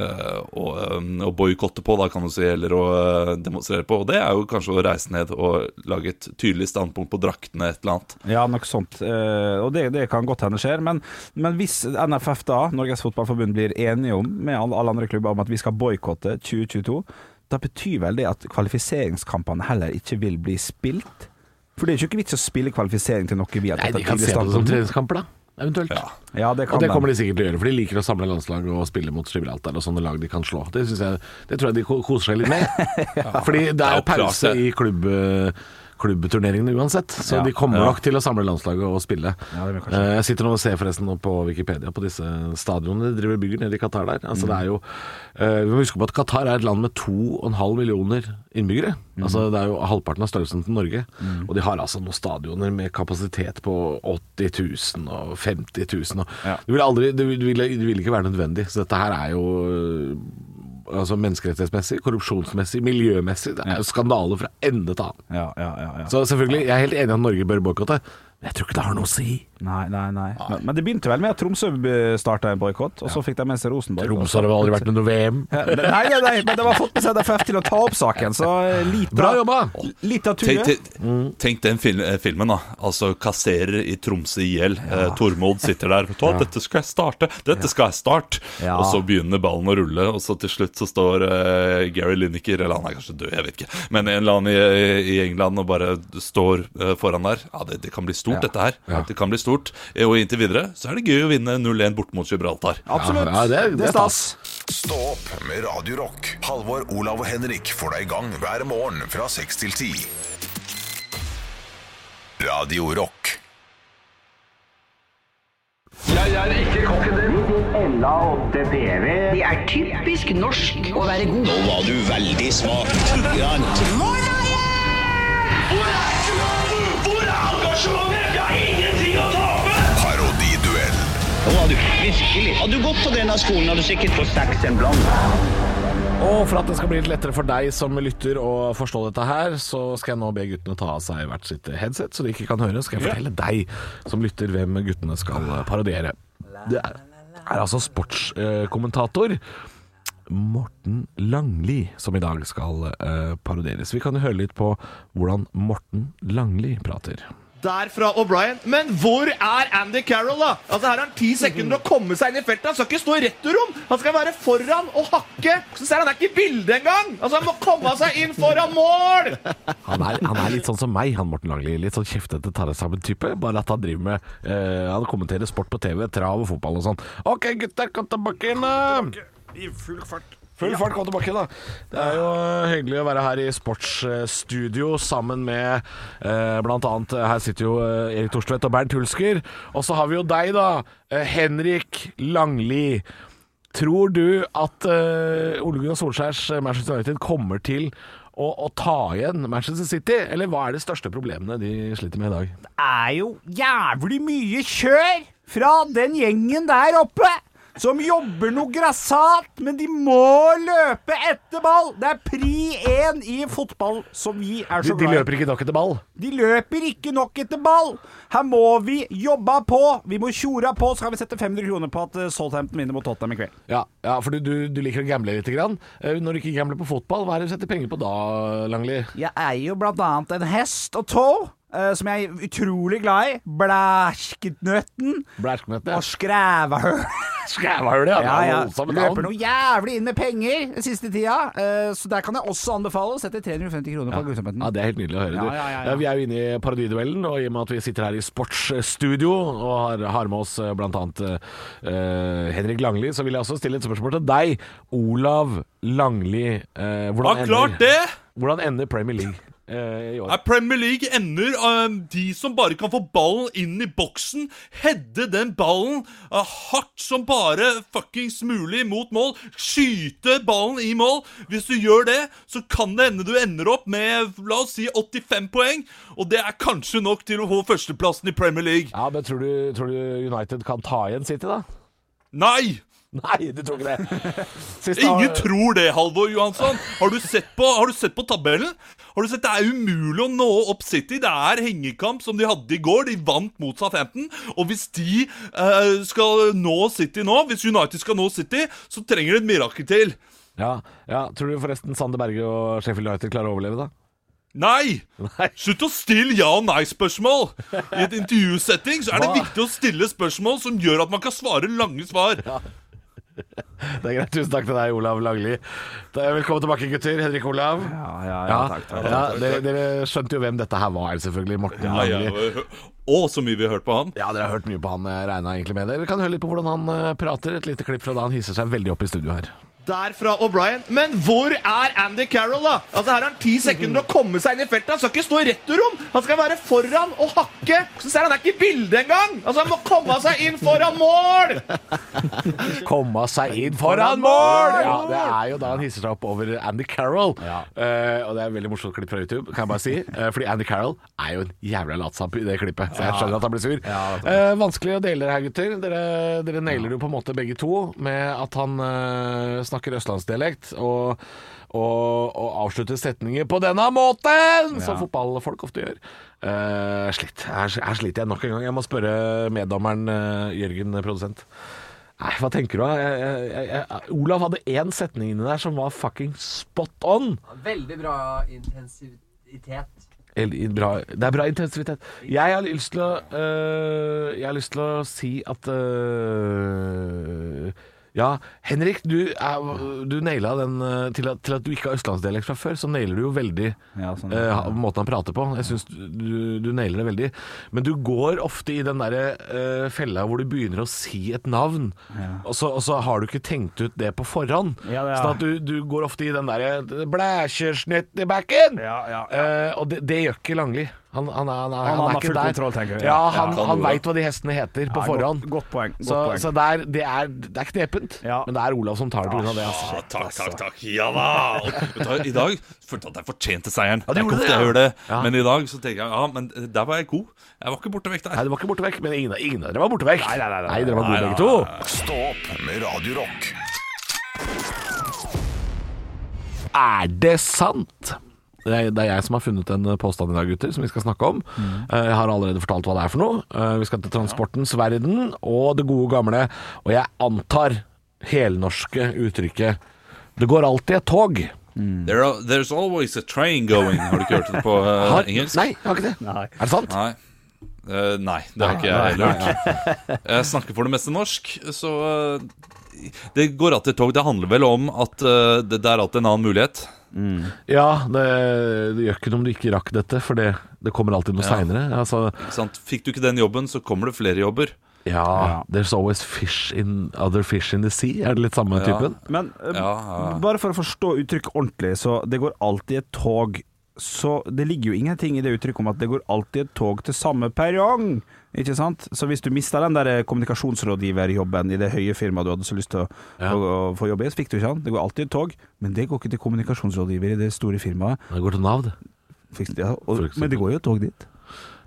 Speaker 5: eh, og, eh, og boikotte på, da kan du si, eller å eh, demonstrere på. Og det er jo kanskje å reise ned og lage et tydelig standpunkt på draktene, et eller annet.
Speaker 4: Ja, noe sånt. Eh, og det, det kan godt hende skjer. Men, men hvis NFF, da, Norges Fotballforbund, blir enige om med alle alle andre klubber om at vi skal boikotte 2022, da betyr vel det at kvalifiseringskampene heller ikke vil bli spilt? For det er jo ikke vits å spille kvalifisering til noe vi har
Speaker 3: Nei,
Speaker 4: tatt
Speaker 3: de kan
Speaker 4: tidlig
Speaker 3: se på det som
Speaker 4: standpunkt.
Speaker 3: treningskamper, da. Eventuelt.
Speaker 4: Ja, det kan
Speaker 3: Og det
Speaker 4: de.
Speaker 3: kommer de sikkert til å gjøre, for de liker å samle landslag og spille mot Gibraltar og sånne lag de kan slå. Det, synes jeg, det tror jeg de ko- koser seg litt med. Fordi det er
Speaker 5: Ja,
Speaker 3: jo pause
Speaker 5: klart
Speaker 3: i
Speaker 5: det.
Speaker 3: klubb, klubbturneringene uansett, så
Speaker 4: Ja.
Speaker 3: de kommer
Speaker 5: Ja.
Speaker 3: nok til å samle landslaget og spille.
Speaker 4: Ja, det vil jeg kanskje.
Speaker 3: Eh, jeg sitter nå og ser forresten nå på Wikipedia på disse stadionene de driver og bygger nede i Qatar der. Altså, det
Speaker 4: Mm.
Speaker 3: er jo, eh, vi må huske på at Qatar er et land med 2,5 millioner innbyggere.
Speaker 4: Mm.
Speaker 3: Altså, det er jo halvparten av størrelsen til Norge. Og de har altså noen stadioner med kapasitet på 80 000 og 50 000. Og
Speaker 4: Ja.
Speaker 3: det, vil aldri, det, vil, det vil- det vil ikke være nødvendig. Så dette her er jo eh, altså menneskerettighetsmessig, korrupsjonsmessig, miljømessig. Det er jo skandale fra ende til annen.
Speaker 4: Ja, ja, ja, ja.
Speaker 3: Så selvfølgelig, jeg er helt enig i at Norge bør boikotte, men jeg tror ikke det har noe å si.
Speaker 4: Nei, nei, nei. Men, men det begynte vel med at Tromsø starta en boikott, og så fikk de med seg Rosenborg.
Speaker 3: Tromsø har vel aldri vært med noe VM.
Speaker 4: Ja, Nei, nei, nei, men det var fått med seg NFF til å ta opp saken, så eh, litt av-
Speaker 3: Bra jobba!
Speaker 4: Litt av
Speaker 5: Tenk,
Speaker 4: turen.
Speaker 5: tenk, tenk den fil eh, filmen, da. Altså kasserer i Tromsø i hjel. Eh, Tormod sitter der og «Å, 'Dette skal jeg starte! Dette skal jeg starte!'
Speaker 4: Ja.
Speaker 5: Og så begynner ballen å rulle, og så til slutt så står eh, Gary Lineker, eller han er kanskje død, jeg vet ikke, men en eller annen i, i England og bare står eh, foran der. Ja, det, det kan bli stort, dette her. Det kan bli stort. Eh, Og inntil videre så er det gøy å vinne 0-1 borte mot Gibraltar.
Speaker 4: Absolutt.
Speaker 3: Ja, ja, det er- det er
Speaker 1: Stå opp med Radio Rock. Halvor, Olav og Henrik får deg i gang hver morgen fra 6 til 10. Radio Rock.
Speaker 8: Det er typisk norsk å være god. Nå var du veldig smak.
Speaker 9: Hvor er engasjementet? Jeg har ingenting å tape!
Speaker 1: Parodiduell.
Speaker 8: Nå var du virkelig. Hadde du gått på denne skolen, hadde du sikkert fått seks en blant.
Speaker 3: Og for at det skal bli litt lettere for deg som lytter å forstå dette her, så skal jeg nå be guttene ta av seg hvert sitt headset, så de ikke kan høre. Så skal jeg fortelle deg som lytter hvem guttene skal parodiere. Det er, er altså sportskommentator Morten Langli som i dag skal eh, parodieres. Vi kan jo høre litt på hvordan Morten Langli prater.
Speaker 10: Der fra O'Brien. Men hvor er Andy Carroll, da? Altså Her har han ti sekunder å komme seg inn i feltet. Han skal ikke stå i returrom! Han skal være foran og hakke. Så ser han det er ikke i bildet engang! Altså Han må komme seg inn foran mål!
Speaker 3: Han er, han er litt sånn som meg, han Morten Langli. Litt sånn kjeftete, tar det sammen-type. Bare at han driver med eh, Han kommenterer sport på TV, trav og fotball og sånn. OK, gutter, kom tilbake inn! da.
Speaker 11: I full fart.
Speaker 3: Full fart, kom tilbake, da. Det er jo eh, hyggelig å være her i sportsstudio sammen med eh, blant annet eh, Her sitter jo eh, Erik Thorstvedt og Bernt Hulsker. Og så har vi jo deg, da. Eh, Henrik Langli. Tror du at eh, Ole Gunnar Solskjærs eh, Manchester United kommer til å, å ta igjen Manchester City? Eller hva er de største problemene de sliter med i dag?
Speaker 11: er jo jævlig mye kjør fra den gjengen der oppe. Som jobber noe grassat, men de må løpe etter ball. Det er pri én i fotball som vi Sånn er
Speaker 3: De,
Speaker 11: så
Speaker 3: de
Speaker 11: glad i.
Speaker 3: løper ikke nok etter ball.
Speaker 11: De løper ikke nok etter ball. Her må vi jobbe på. Vi må tjora på, så kan vi sette 500 kroner på at eh, Southampton vinner mot Tottenham i kveld.
Speaker 3: Ja, ja for du, du, du liker å gamble litt. Grann. Eh, Når du ikke gambler på fotball, hva er det du setter penger på da, Langli?
Speaker 11: Jeg eier jo blant annet en hest og tog, eh, som jeg er utrolig glad i. Blæsketnøtten
Speaker 3: Blæskmøte?
Speaker 11: og skrævahøl. Skrævahølet,
Speaker 12: ja. Det er
Speaker 11: Ja, ja.
Speaker 12: voldsomme navn.
Speaker 11: Løper noe jævlig inn med penger den siste tida, eh, så der kan jeg også anbefale å sette 350 kroner på grusomheten.
Speaker 3: Ja, Det er helt nydelig å høre. Du.
Speaker 11: Ja, ja, ja, ja.
Speaker 3: vi er jo inne i parodiduellen, og i og med at vi sitter her i sportsstudio og har, har med oss eh, bl.a. Uh, Henrik Langli, så vil jeg også stille et spørsmål til deg. Olav Langli. eh,
Speaker 5: Ja,
Speaker 3: hvordan,
Speaker 5: klart
Speaker 3: ender,
Speaker 5: det!
Speaker 3: hvordan ender Premier League eh, i år?
Speaker 5: Nei, Premier League ender um, de som bare kan få ballen inn i boksen, hedde den ballen uh, hardt som bare fuckings mulig mot mål, skyte ballen i mål. Hvis du gjør det, så kan det ende du ender opp med la oss si 85 poeng, og det er kanskje nok til å få førsteplassen i Premier League.
Speaker 3: Ja, men tror du, tror du United kan ta igjen City, da?
Speaker 5: Nei!
Speaker 3: Nei, du tror ikke det. Siste-
Speaker 5: Ingen tror det, Halvor Johansson. Har du sett på, har du sett på tabellen? Har du sett, Det er umulig å nå opp City. Det er hengekamp som de hadde i går. De vant mot Southampton. Og hvis de eh, skal nå City nå, hvis United skal nå City, så trenger de et mirakel til.
Speaker 3: Ja, ja. Tror du forresten Sander Berge og Sheffield United klarer å overleve, da?
Speaker 5: Nei! Slutt å stille ja- og nei-spørsmål! I et intervjusetting så er det viktig å stille spørsmål som gjør at man kan svare lange svar.
Speaker 3: Det er greit. Tusen takk til deg, Olav Langli. Da- Velkommen tilbake, gutter. Henrik Olav. Ja,
Speaker 5: ja, takk, takk,
Speaker 3: Ja,
Speaker 5: takk,
Speaker 3: dere,
Speaker 5: takk.
Speaker 3: dere skjønte jo hvem dette her var, selvfølgelig. Morten
Speaker 5: Ja, ja,
Speaker 3: Langli.
Speaker 5: og- og så mye vi har hørt på han.
Speaker 3: Ja, dere har hørt mye på han, regna egentlig med. Dere kan høre litt på hvordan han eh, prater. Et lite klipp fra da han hisser seg veldig opp i studio her.
Speaker 10: Der fra O'Brien. Men hvor er Andy Carroll, da? Altså Her har han ti sekunder å komme seg inn i feltet. Han skal ikke stå i returrom! Han skal være foran og hakke! Så ser han, han er ikke i bildet engang! Altså, han må komme seg inn foran mål!
Speaker 3: Komme seg inn foran mål! Ja, Det er jo da han hisser seg opp over Andy Carroll. Eh, og det er et veldig morsomt klipp fra YouTube, kan jeg bare si. Eh, fordi Andy Carroll er jo en jævla latsamp i det klippet, så jeg skjønner at han blir sur. Eh, vanskelig å dele det her, gutter. Dere, dere nailer jo på en måte begge to med at han eh, snakker østlandsdialekt og, og, og avslutter setninger på denne måten, som fotballfolk ofte gjør. Eh, slitt. Her, her sliter jeg nok en gang. Jeg må spørre meddommeren eh, Jørgen, produsent. Nei, hva tenker du? da? Jeg, jeg, jeg, jeg, Olav hadde én setning inni der som var fucking spot on.
Speaker 13: Veldig bra intensivitet.
Speaker 3: Eller, i- bra, det er bra intensitet. Jeg har lyst til å øh, Jeg har lyst til å si at øh, Ja, Henrik, du, er- du naila den øh, til at, til at du ikke har østlandsdialekt fra før, så nailer du jo veldig
Speaker 4: sånn,
Speaker 3: øh, ha- måten han prater på. Jeg syns du, du nailer det veldig. Men du går ofte i den derre øh, fella hvor du begynner å si et navn, og, så, og så har du ikke tenkt ut det på forhånd.
Speaker 4: Ja, det er-
Speaker 3: Sånn at du, du går ofte i den derre Blækjersnett i bekken! Eh, og det, det gjør ikke Langli. Han, han, er- han, er- han
Speaker 4: Han- han
Speaker 3: er
Speaker 4: har
Speaker 3: ikke
Speaker 4: full
Speaker 3: der.
Speaker 4: kontroll, tenker jeg.
Speaker 3: Ja,
Speaker 4: Ja.
Speaker 3: han,
Speaker 4: Ja.
Speaker 3: han veit hva de hestene heter på
Speaker 4: Ja, godt-
Speaker 3: forhånd.
Speaker 4: godt poeng, godt
Speaker 3: så
Speaker 4: poeng.
Speaker 3: så der, det, er, det er knepent, men det er Olav som tar det pga. det. Altså.
Speaker 5: Ja, takk, takk, takk. Ja da! Og vet du hva, I dag følte jeg at jeg fortjente seieren.
Speaker 3: Ja, du
Speaker 5: Det er ikke
Speaker 3: gjorde det,
Speaker 5: ofte jeg
Speaker 3: ja.
Speaker 5: gjør det.
Speaker 3: Ja.
Speaker 5: Men i dag så tenker jeg ja, men eh, der var jeg god. Jeg var ikke borte vekk der.
Speaker 3: Nei, du var ikke borte vekk, men ingen, ingen av dere var borte vekk. Nei, nei, nei, dere var
Speaker 5: Nei,
Speaker 3: gode
Speaker 5: nei.
Speaker 3: begge to.
Speaker 1: Stå opp med Radio Rock.
Speaker 3: Er det sant? Det er, det er jeg som har funnet en påstand i dag, gutter, som vi skal snakke om.
Speaker 5: Mm.
Speaker 3: Eh, Jeg har allerede fortalt hva det er for noe. Eh, Vi skal til transportens verden og det gode gamle. Og jeg antar helnorske uttrykket 'det går alltid et tog'.
Speaker 5: There are, there's always a train going. Har du ikke hørt det på eh,
Speaker 3: Har-
Speaker 5: engelsk?
Speaker 3: Nei, jeg har ikke det. Er det sant?
Speaker 5: Nei. Eh, nei, det har ikke jeg
Speaker 3: Nei,
Speaker 5: heller
Speaker 3: nei,
Speaker 5: hørt. Jeg snakker for det meste norsk, så eh, Det går alltid et tog. Det handler vel om at eh, det, det er alltid en annen mulighet.
Speaker 3: Ja, det, det gjør ikke noe om du ikke rakk dette, for det, det kommer alltid noe
Speaker 5: Ja.
Speaker 3: seinere. Altså,
Speaker 5: Ikke sant? Fikk du ikke den jobben, så kommer det flere jobber.
Speaker 3: ja, There's always fish in other fish in the sea. Er det litt samme typen?
Speaker 4: Men eh, bare for å forstå uttrykket ordentlig, så det går alltid et tog Så det ligger jo ingenting i det uttrykket om at det går alltid et tog til samme perrong, ikke sant? Så hvis du mista den der eh, kommunikasjonsrådgiverjobben i det høye firmaet du hadde så lyst til å, å, å få jobbe i, så fikk du ikke den. Det går alltid et tog, men det går ikke til kommunikasjonsrådgiver i det store firmaet.
Speaker 3: Det går til Nav, det.
Speaker 4: Ja, og, men det går jo et tog dit.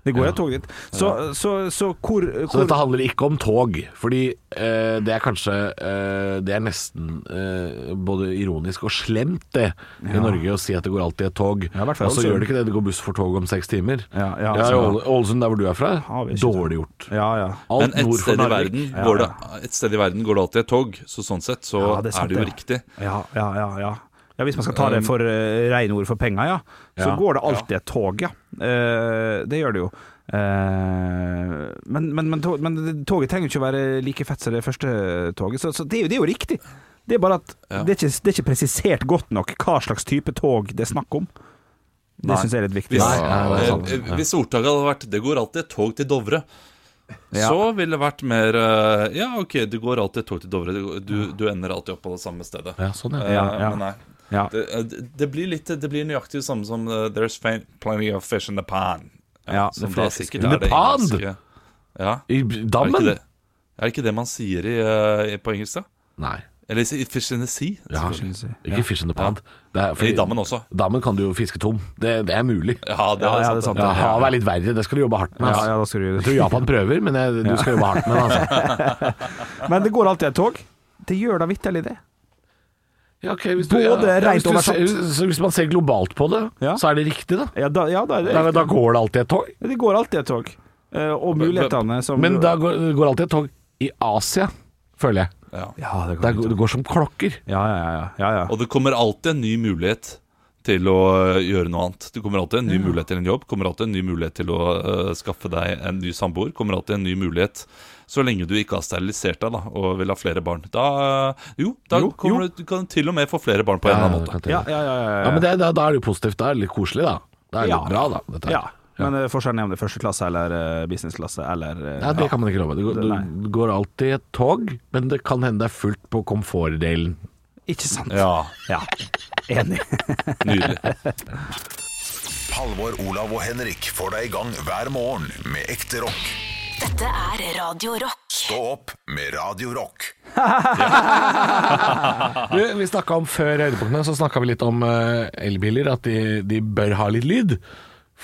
Speaker 4: Det går jo et tog dit. Så, så, så, hvor,
Speaker 3: Så
Speaker 4: hvor
Speaker 3: dette handler ikke om tog, fordi eh, det er kanskje eh, Det er nesten eh, både ironisk og slemt, det, i
Speaker 4: Ja.
Speaker 3: Norge å si at det går alltid et tog.
Speaker 4: hvert fall
Speaker 3: og så
Speaker 4: Ålesund.
Speaker 3: gjør det ikke det, det går buss for tog om seks timer. Ja,
Speaker 4: ja,
Speaker 3: i
Speaker 4: altså, ja.
Speaker 3: Åle- Ålesund, der hvor du er fra,
Speaker 4: vi ikke
Speaker 3: dårlig gjort. Alt
Speaker 5: Men et
Speaker 3: nord for
Speaker 5: sted, i
Speaker 3: Narvik.
Speaker 5: verden
Speaker 3: Ja,
Speaker 5: går det,
Speaker 3: ja.
Speaker 5: et sted i verden går det alltid et tog, så sånn sett så
Speaker 4: Ja,
Speaker 5: er,
Speaker 4: det er sant,
Speaker 5: det jo
Speaker 4: det,
Speaker 5: riktig. Um,
Speaker 4: Ja, ja, ja, ja. ja Hvis man skal ta det eh, for uh, rene ord for penger, ja, så
Speaker 5: Ja,
Speaker 4: går det alltid et tog, ja. Eh, det gjør det jo. Eh, men, men, men, tog, men det- toget trenger jo ikke å være like fett som det første toget, så, så det, er jo, det er jo riktig. Det er bare at det, er ikke, det er ikke presisert godt nok hva slags type tog det er snakk om. Det syns jeg er litt viktig.
Speaker 5: Hvis,
Speaker 4: Ja, det er sant.
Speaker 5: eh, eh, hvis ordtaket hadde vært 'det går alltid et tog til Dovre',
Speaker 4: Ja.
Speaker 5: så ville det vært mer eh, Ja, OK, det går alltid et tog til Dovre. Du, du, du ender alltid opp på det samme stedet.
Speaker 3: Ja, sånn, ja.
Speaker 5: Eh,
Speaker 3: Ja, ja.
Speaker 5: Men nei.
Speaker 3: Ja.
Speaker 5: Det, eh, det- det blir litt Det blir nøyaktig det samme som eh, 'There's fa- plenty of fish in the pan'.
Speaker 4: Ja,
Speaker 5: som
Speaker 4: det
Speaker 5: da
Speaker 4: er
Speaker 5: sikkert
Speaker 3: In the
Speaker 5: er det
Speaker 3: pond?
Speaker 5: engelske. Ja.
Speaker 3: I
Speaker 5: Er det,
Speaker 3: dammen?
Speaker 5: ikke det, er det ikke det man sier i, eh, på engelsk, da?
Speaker 3: Nei.
Speaker 5: Eller si- fish in the sea?
Speaker 3: Ja,
Speaker 5: selvfølgelig.
Speaker 3: ikke fish in the pond. Det er-
Speaker 5: I dammen også.
Speaker 3: Dammen kan du jo fiske tom. Det, det er mulig.
Speaker 5: Ja, det er Ja, ja, sant, det er sant,
Speaker 3: Ja,
Speaker 5: ja.
Speaker 3: havet er litt verre. Det skal du jobbe hardt med.
Speaker 4: Ja, ja, da skal du-
Speaker 3: Jeg tror Japan prøver, men jeg, du skal jobbe hardt med det. Altså.
Speaker 4: Men det går alltid et tog. Det gjør da vitterlig det.
Speaker 3: Ja, ok, hvis
Speaker 4: Både rent
Speaker 3: hvis, du,
Speaker 4: oversatt.
Speaker 3: ser- så hvis man ser globalt på det, så er det riktig, da.
Speaker 4: Ja, da, da, er det
Speaker 3: da,
Speaker 4: riktig.
Speaker 3: går det alltid et tog.
Speaker 4: Ja, Det går alltid et tog. Eh, og mulighetene som
Speaker 3: Men da går, det går alltid et tog i Asia, føler jeg.
Speaker 5: Ja.
Speaker 3: det, går, det går som klokker.
Speaker 4: Ja, ja, ja. ja, ja.
Speaker 5: Og det kommer alltid en ny mulighet til å øh, gjøre noe annet. Det kommer alltid en ny mulighet til en jobb, kommer alltid en ny mulighet til å øh, skaffe deg en ny samboer, kommer alltid en ny mulighet. Så lenge du ikke har sterilisert deg da, og vil ha flere barn. Da, øh, jo, da
Speaker 3: Jo,
Speaker 5: kommer
Speaker 3: jo.
Speaker 5: Du, du kan til og med få flere barn på en eller annen måte.
Speaker 3: Ja,
Speaker 4: ja, ja, ja, ja.
Speaker 3: men det, da, da er det jo positivt. Da er det litt koselig, da. Da er det
Speaker 4: Ja.
Speaker 3: litt bra, da. Dette. her.
Speaker 4: Ja. Men eh, forskjellen er om det er første klasse eller eh, businessklasse eller eh,
Speaker 3: Nei, det kan man ikke love. Det går,
Speaker 4: Nei.
Speaker 3: du, det går alltid et tog, men det kan hende det er fullt på komfortdelen.
Speaker 4: Ikke sant?
Speaker 5: Ja.
Speaker 4: ja. Enig.
Speaker 1: Halvor, Olav og Henrik får deg i gang hver morgen med ekte rock.
Speaker 2: Dette er Radio Rock.
Speaker 1: Stå opp med Radio Rock.
Speaker 3: Du, vi snakka om før høydepunktene, så snakka vi litt om eh, elbiler, at de, de bør ha litt lyd.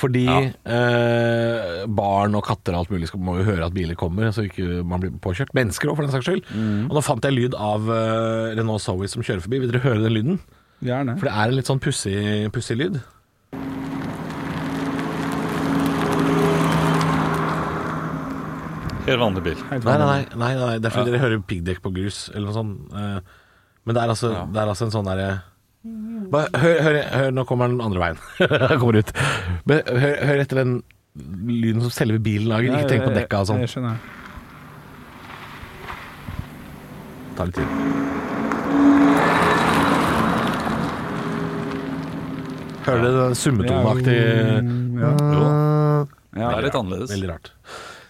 Speaker 3: Fordi eh, barn og katter og alt mulig skal, må jo høre at biler kommer, så ikke man blir påkjørt. Mennesker òg, for den saks skyld. Og nå fant jeg lyd av eh, Renault Zoe som kjører forbi. Vil dere høre den lyden?
Speaker 4: Gjerne.
Speaker 3: For det er en litt sånn pussig pussig lyd.
Speaker 5: Helt vanlig bil.
Speaker 3: Nei, nei, nei, nei, nei, det er fordi dere hører piggdekk på grus eller noe sånt. eh, Men det er altså, det er altså en sånn derre Bare hør, hør, hør, nå kommer den andre veien. Den kommer ut. Men hør, hør etter den lyden som selve bilen lager. Ikke tenk på dekka og sånn.
Speaker 4: Jeg skjønner.
Speaker 3: Ta litt tid. Hører dere den summetoneaktige
Speaker 5: Jo.
Speaker 4: Ja.
Speaker 5: Det er litt annerledes.
Speaker 3: Veldig rart.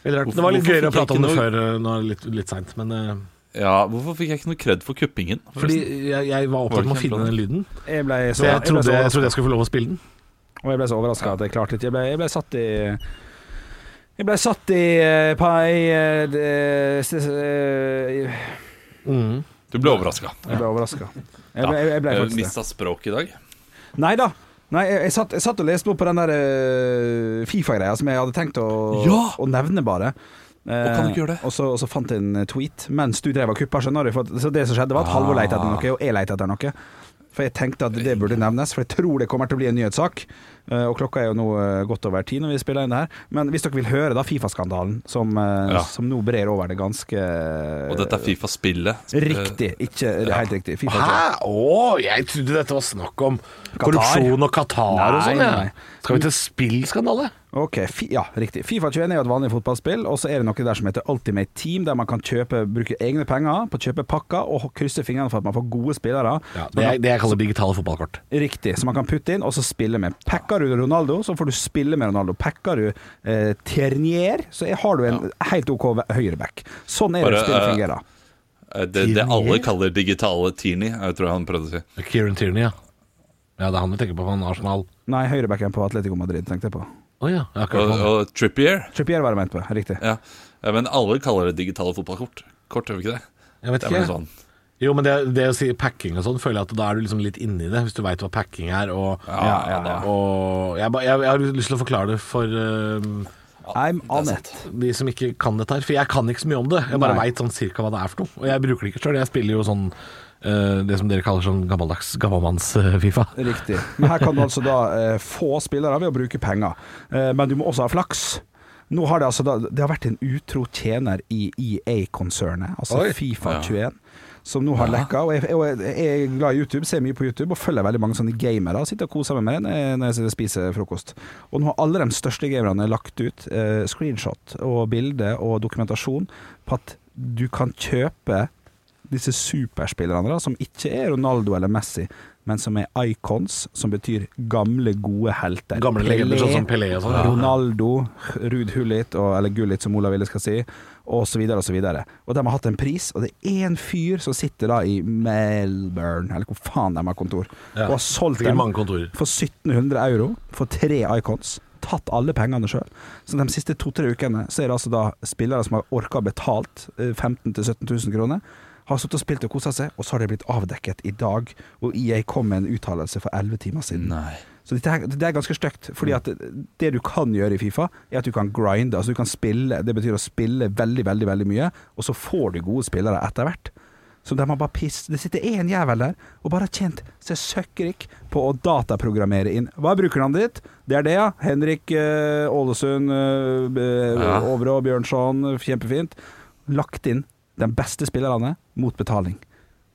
Speaker 3: Veldig rart.
Speaker 5: Hvorfor-
Speaker 3: Det var litt
Speaker 5: hvorfor
Speaker 3: gøyere å
Speaker 5: fikk jeg
Speaker 3: prate om det
Speaker 5: ikke noe-
Speaker 3: før, eh, nå er det litt, litt seint, men eh,
Speaker 5: Ja, hvorfor fikk jeg ikke noe kred for kuppingen?
Speaker 3: Fordi jeg, jeg var
Speaker 5: Var det
Speaker 3: opptatt med å
Speaker 5: ikke en
Speaker 3: finne den lyden.
Speaker 4: Jeg ble
Speaker 3: Så
Speaker 4: så,
Speaker 3: jeg
Speaker 4: ble
Speaker 3: trodde
Speaker 4: så
Speaker 3: jeg,
Speaker 4: overrasket.
Speaker 3: trodde jeg skulle få lov å spille den.
Speaker 4: Og jeg ble så overraska at jeg klarte ikke jeg ble, jeg ble satt i Jeg ble satt i eh, på ei eh, det- s- s- eh,
Speaker 5: Du ble overraska.
Speaker 4: Jeg ble overraska. Jeg, ble- jeg, jeg ble
Speaker 5: Ja.
Speaker 4: faktisk det.
Speaker 5: Mista språket i dag.
Speaker 4: Nei da. Nei, jeg, jeg, satt, jeg satt og leste opp på den der eh, Fifa-greia som jeg hadde tenkt å,
Speaker 5: Ja!
Speaker 4: å nevne, bare. Eh,
Speaker 5: kan du ikke gjøre det?
Speaker 4: og, så, og så fant jeg en eh, tweet mens du drev og kuppa. Skjønner du? For, at- så det som skjedde, var at
Speaker 5: Ah.
Speaker 4: Halvor leita etter noe, og jeg leita etter noe. For jeg tenkte at det burde nevnes, for jeg tror det kommer til å bli en nyhetssak. Eh, og klokka er jo nå eh, godt over ti når vi spiller inn det her. Men hvis dere vil høre da Fifa-skandalen, som, eh,
Speaker 5: Ja.
Speaker 4: som nå brer over det ganske
Speaker 5: Og dette er Fifa-spillet.
Speaker 4: Riktig. Ikke helt riktig. FIFA,
Speaker 3: Hæ? Å, jeg trodde dette var snakk om korrupsjon og Qatar og sånn.
Speaker 4: Nei, nei.
Speaker 3: Ja. Skal vi til spillskandale?
Speaker 4: Ok, fi, ja, riktig. Fifa 21 er jo et vanlig fotballspill, og så er det noe der som heter Ultimate Team, der man kan kjøpe, bruke egne penger på å kjøpe pakker og krysse fingrene for at man får gode spillere.
Speaker 3: Ja,
Speaker 4: Man
Speaker 3: det,
Speaker 4: kan-
Speaker 3: jeg, det jeg kaller digitale fotballkort.
Speaker 4: Riktig, som man kan putte inn og så spille med. Packer du Ronaldo, så får du spille med Ronaldo. Packer du eh, Ternier, så er- har du en helt OK ve- høyreback. Sånn er det
Speaker 5: Bare,
Speaker 4: spillet
Speaker 5: eh,
Speaker 4: fungerer.
Speaker 5: Eh, Det, det alle kaller digitale Teenie, jeg tror jeg han prøvde å si.
Speaker 3: Kieran Tierney, ja. Ja, det er han vi tenker på, han Arsenal.
Speaker 4: Nei, høyrebacken på Atletico Madrid, tenkte jeg på.
Speaker 3: Å ja. jeg har ikke hørt
Speaker 5: Og,
Speaker 3: om han.
Speaker 5: og Trippier.
Speaker 4: Trippier var det ment på, riktig.
Speaker 5: Ja. Eh, Men alle kaller det digitale fotballkort. Kort, gjør vi ikke det?
Speaker 3: Jeg vet
Speaker 5: Det er vel
Speaker 3: ikke.
Speaker 5: sånn.
Speaker 3: Jo, men det, det å si packing og sånn, føler jeg at da er du liksom litt inni det, hvis du veit hva packing er. Og,
Speaker 5: Ja, ja, ja.
Speaker 3: og jeg, ba- jeg, jeg har lyst til å forklare det for eh, øhm,
Speaker 4: I'm on it.
Speaker 3: de som ikke kan dette her. For jeg kan ikke så mye om det. Jeg bare
Speaker 4: Nei.
Speaker 3: veit sånn cirka hva det er for noe. Og jeg bruker det ikke sjøl. Jeg spiller jo sånn eh, det som dere kaller sånn gammeldags gammelmanns-Fifa.
Speaker 4: Riktig. Men her kan du altså da eh, få spillere ved å bruke penger. Eh, men du må også ha flaks. Nå har det altså da, Det har vært en utro tjener i EA-konsernet, altså
Speaker 3: Oi.
Speaker 4: Fifa
Speaker 3: Ja.
Speaker 4: 21. Som nå har
Speaker 3: Ja.
Speaker 4: lekka. Og jeg, og jeg, jeg er glad i YouTube, ser mye på YouTube og følger veldig mange sånne gamere. og Sitter og koser meg med det når jeg- når jeg sitter og spiser frokost. Og nå har alle de største gamerne lagt ut eh, screenshot og bilde og dokumentasjon på at du kan kjøpe disse superspillerne, da, som ikke er Ronaldo eller Messi, men som er icons, som betyr gamle, gode helter.
Speaker 3: Gamle legender, sånn som Pelé og sånn, ja.
Speaker 4: Ronaldo, Ruud Hullit, og, eller Gullit, som Olav Ville skal si, og så videre og så videre. Og de har hatt en pris, og det er én fyr som sitter da i Melbourne, eller hvor faen de har kontor,
Speaker 3: Ja.
Speaker 4: og har solgt
Speaker 3: Sikkert
Speaker 4: dem
Speaker 3: mange kontorer.
Speaker 4: for 1700 euro for tre icons. Tatt alle pengene sjøl. Så de siste to-tre ukene så er det altså da spillere som har orka å betalt eh, 15 000-17 000 kroner, har sittet og spilt og kosa seg, og så har det blitt avdekket i dag. Og EA kom med en uttalelse for 11 timer siden. Så dette her, det er ganske stygt, fordi at det du kan gjøre i Fifa, er at du kan grinde. Altså du kan spille, det betyr å spille veldig, veldig, veldig mye, og så får du gode spillere etter hvert. Så de har bare piss Det sitter én jævel der og bare har tjent seg søkkrik på å dataprogrammere inn. Hva er brukernavnet ditt? Det er det, ja. Henrik eh, Ålesund, eh, B-
Speaker 5: Ja.
Speaker 4: Overå, Bjørnson. Kjempefint. Lagt inn de beste spillerne mot betaling.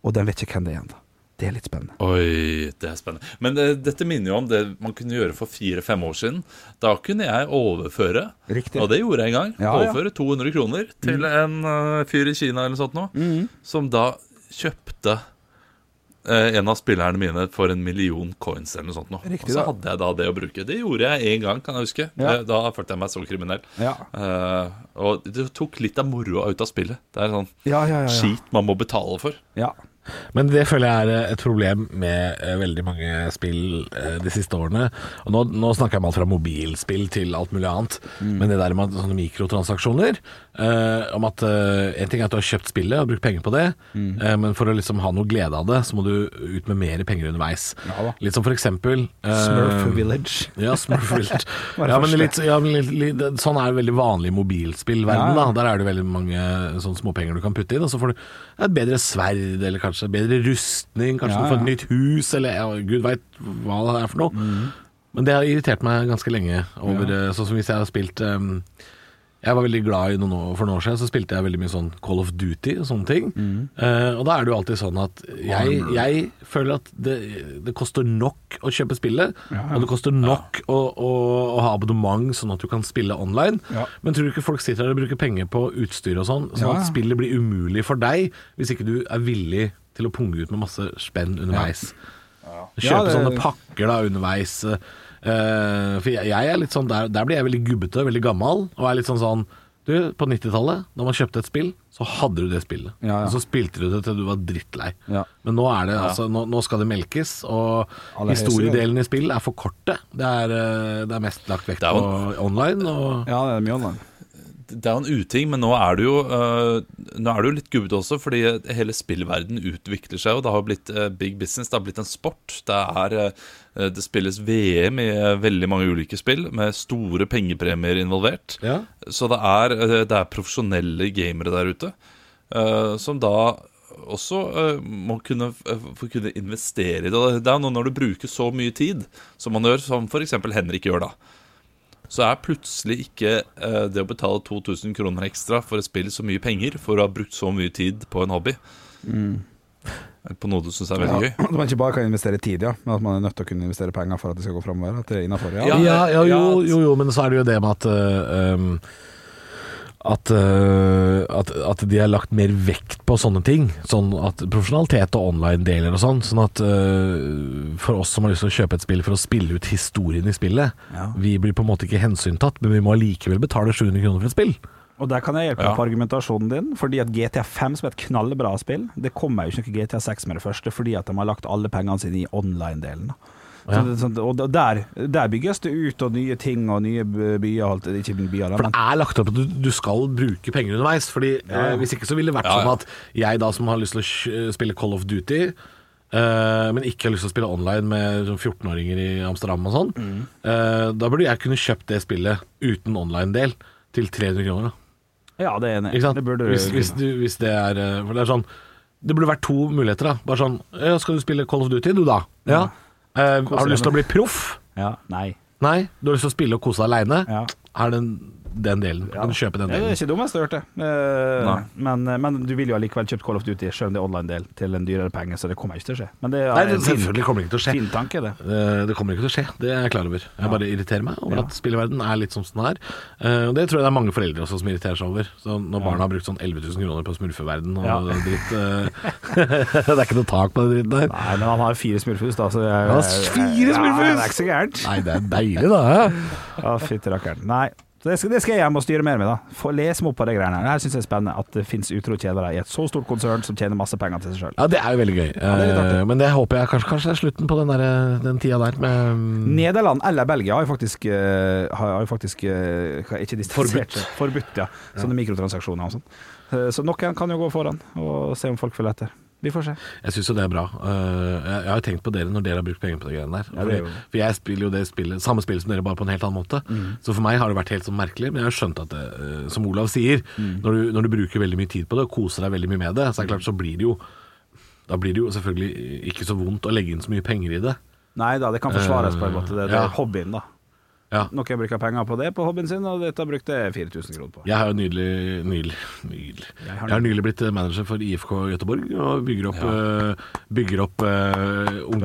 Speaker 4: Og de vet ikke hvem det er ennå. Det er litt spennende.
Speaker 5: Oi, det er spennende. Men eh, dette minner jo om det man kunne gjøre for fire-fem år siden. Da kunne jeg overføre,
Speaker 4: Riktig.
Speaker 5: og det gjorde jeg en gang,
Speaker 4: Ja, Mm. ja.
Speaker 5: overføre 200 kroner til en eh, fyr i Kina eller sånt nå,
Speaker 4: Mm.
Speaker 5: som da kjøpte eh, en av spillerne mine for en million coins eller noe sånt nå.
Speaker 4: Riktig,
Speaker 5: og så
Speaker 4: da.
Speaker 5: hadde jeg da det å bruke. Det gjorde jeg én gang, kan jeg huske.
Speaker 4: Ja.
Speaker 5: Eh, Da følte jeg meg så kriminell.
Speaker 4: Ja.
Speaker 5: Eh, og det tok litt av moroa ut av spillet. Det er sånn
Speaker 4: Ja, ja, ja, ja.
Speaker 5: skit man må betale for.
Speaker 3: Men det føler jeg er et problem med eh, veldig mange spill eh, de siste årene. Og nå, nå snakker jeg om alt fra mobilspill til alt mulig annet. Men det der med at sånne mikrotransaksjoner eh, Om at eh, en ting er at du har kjøpt spillet og brukt penger på det, eh, men for å liksom ha noe glede av det, så må du ut med mer penger underveis. Litt som for eksempel eh,
Speaker 4: Smurf Village.
Speaker 3: Ja, Smurf Village.
Speaker 4: Var det
Speaker 3: ja, men
Speaker 4: første.
Speaker 3: litt, ja, men litt, litt, sånn er det veldig vanlig i mobilspillverden.
Speaker 4: Ja, ja.
Speaker 3: Da. Der er det veldig mange eh, sånne småpenger du kan putte inn, og så får du et bedre sverd, eller kanskje bedre rustning, kanskje
Speaker 4: Ja,
Speaker 3: du får et
Speaker 4: ja. Mm.
Speaker 3: nytt hus, eller ja, gud veit hva det er for noe. Men det har irritert meg ganske lenge. Over, eh, Sånn som hvis jeg har spilt eh, jeg var veldig glad i noen år, For noen år siden så spilte jeg veldig mye sånn Call of Duty og sånne ting.
Speaker 4: Mm.
Speaker 3: Eh, og da er det jo alltid sånn at jeg, jeg føler at det, det koster nok å kjøpe spillet, og det koster nok å, å, å ha abonnement sånn at du kan spille online.
Speaker 4: Ja.
Speaker 3: Men tror du ikke folk sitter der og bruker penger på utstyr og sånn, sånn
Speaker 4: Ja, ja.
Speaker 3: at spillet blir umulig for deg hvis ikke du er villig til å punge ut med masse spenn underveis?
Speaker 4: Ja,
Speaker 3: Kjøpe
Speaker 4: det-
Speaker 3: sånne pakker da underveis. Eh, for jeg, jeg er litt sånn der, der blir jeg veldig gubbete, veldig gammel, og er litt sånn sånn Du, på 90-tallet, da man kjøpte et spill, så hadde du det spillet.
Speaker 4: Ja, ja.
Speaker 3: Og så spilte du det til du var drittlei.
Speaker 4: Ja.
Speaker 3: Men nå er det altså Nå, nå skal det melkes, og
Speaker 4: Aller høyeste
Speaker 3: historiedelene i spill er for korte. Det er, eh, det er mest lagt vekt
Speaker 5: er
Speaker 3: på
Speaker 5: jo
Speaker 3: online. Og,
Speaker 4: Ja, det er mye online.
Speaker 5: det er jo en uting, men nå er det jo, eh, nå er det jo litt gubbete også, fordi hele spillverden utvikler seg, og det har blitt eh, big business, det har blitt en sport. Det, er, eh, det spilles VM i eh, veldig mange ulike spill, med store pengepremier involvert.
Speaker 3: Ja.
Speaker 5: Så det er, eh, det er profesjonelle gamere der ute, eh, som da også eh, må kunne, f- få kunne investere i det. Det er noe når du bruker så mye tid som man gjør, som f.eks. Henrik gjør da så er plutselig ikke eh, det å betale 2000 kroner ekstra for et spill så mye penger for å ha brukt så mye tid på en hobby.
Speaker 3: Mm.
Speaker 5: Eller På noe du syns er
Speaker 4: Ja,
Speaker 5: veldig gøy.
Speaker 4: At man ikke bare kan investere tid, ja, men at man er nødt til å kunne investere penger for at det skal gå framover. At det er innafor.
Speaker 3: Ja, ja, jo, jo, jo, men så er det jo det med at øh, øhm, at, øh, at, at de har lagt mer vekt på sånne ting. Sånn at Profesjonalitet og online-deler og sånn. Sånn at øh, for oss som har lyst til å kjøpe et spill for å spille ut historien i spillet, vi blir på en måte ikke hensyntatt, men vi må allikevel betale 700 kroner for et spill.
Speaker 4: Og der kan jeg hjelpe
Speaker 3: Ja.
Speaker 4: deg på argumentasjonen din, fordi at GTA5, som er et knallbra spill, det kommer jo ikke noe GTA6 med det første, fordi at de har lagt alle pengene sine i online-delen. da. Så
Speaker 3: Ja.
Speaker 4: det er sånn- og der, der bygges det ut, og nye ting og nye b- byer. og alt- Ikke byer, da,
Speaker 3: For
Speaker 4: men
Speaker 3: det er lagt opp at du, du skal bruke penger underveis. Fordi
Speaker 4: Ja, ja.
Speaker 3: eh, Hvis ikke så ville det vært
Speaker 4: Ja, ja.
Speaker 3: sånn at jeg da som har lyst til å kj- spille Call of Duty, eh, men ikke har lyst til å spille online med sånn 14-åringer i Amsterdam og sånn,
Speaker 4: Mm.
Speaker 3: eh, da burde jeg kunne kjøpt det spillet uten online-del til 300 kroner. Da.
Speaker 4: Ja, det er enig.
Speaker 3: Ikke sant?
Speaker 4: Det burde du
Speaker 3: hvis,
Speaker 4: kunne.
Speaker 3: hvis, du, hvis det er eh, For det er sånn Det burde vært to muligheter, da. Bare sånn ja, Skal du spille Call of Duty, du, da?
Speaker 4: Mm.
Speaker 3: Ja. Eh, har du lyst til å bli proff?
Speaker 4: Ja. Nei.
Speaker 3: Nei. Du har lyst til å spille og kose deg aleine? Er det en den delen. Kan du kjøpe den
Speaker 4: Ja, det
Speaker 3: delen.
Speaker 4: er ikke dummest jeg har hørt det. Eh, men, men du vil jo allikevel kjøpt Call of Duty, selv om det er online-del, til en dyrere penge, så det kommer ikke til å skje. Men det er
Speaker 3: Nei, det,
Speaker 4: en fin-
Speaker 3: selvfølgelig kommer det ikke til å skje.
Speaker 4: Fin tanke, det.
Speaker 3: Eh, Det kommer ikke til å skje, det er jeg klar over. Jeg bare irriterer meg over at spillverden er litt som den er. Eh, Og det tror jeg det er mange foreldre også som irriterer seg over. Så når barna har brukt sånn 11 000 kroner på smurfeverden og
Speaker 4: Ja.
Speaker 3: dritt eh, Det er ikke noe tak på den dritten der.
Speaker 4: Nei, men han har fire smurfhus, da, så jeg,
Speaker 3: Han har fire smurfhus!
Speaker 4: Ja, det er ikke så gærent.
Speaker 3: Nei, det er deilig, da.
Speaker 4: Ja, fytti rakkeren. Nei. Så det skal, det skal jeg hjem og styre mer med, da. Få lese meg opp på de greiene her. Det her syns jeg er spennende, at det fins utro kjedere i et så stort konsern som tjener masse penger til seg sjøl.
Speaker 3: Ja, det er jo veldig gøy.
Speaker 4: det er litt artig.
Speaker 3: Eh, Men det håper jeg kanskje, kanskje er slutten på den, der, eh, den tida der
Speaker 4: Mm.
Speaker 3: med
Speaker 4: Nederland eller Belgia har jo faktisk, eh, har har jo faktisk eh, hva- ikke distansert
Speaker 3: Forbudt.
Speaker 4: Forbudt, ja. Sånne mikrotransaksjoner og sånn. Eh, Så noen kan jo gå foran og se om folk følger etter. Vi får se.
Speaker 3: Jeg syns jo det er bra. Eh, jeg, jeg har jo tenkt på dere når dere har brukt penger på de greiene der.
Speaker 4: Ja, det er jo-
Speaker 3: for, for jeg spiller jo det spillet, samme spillet som dere, bare på en helt annen måte.
Speaker 4: Mm.
Speaker 3: Så for meg har det vært helt sånn merkelig, men jeg har skjønt at det, eh, som Olav sier,
Speaker 4: Mm.
Speaker 3: når, du, når du bruker veldig mye tid på det og koser deg veldig mye med det, så er det klart så blir det jo da blir det jo selvfølgelig ikke så vondt å legge inn så mye penger i det.
Speaker 4: Nei da, det kan forsvares på en måte. Det, det
Speaker 3: Ja.
Speaker 4: er hobbyen, da.
Speaker 3: Ja.
Speaker 4: Noen bruker penger på det på hobbyen sin, og dette brukte jeg 4000 kroner på.
Speaker 3: Jeg har jo nylig, nylig, nylig. Jeg har nylig blitt manager for IFK Göteborg og bygger opp, eh, bygger opp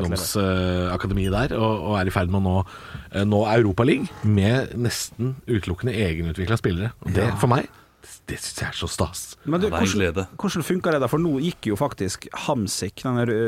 Speaker 3: ungdomsakademiet der. Og, og er i ferd med å nå, eh, nå Europaligaen med nesten utelukkende egenutvikla spillere. Og det for meg, det syns jeg er så stas.
Speaker 4: Men du,
Speaker 5: Ja, det er en
Speaker 4: hvordan,
Speaker 5: glede.
Speaker 4: hvordan funka det da? For nå gikk jo faktisk Hamsik, den der ø,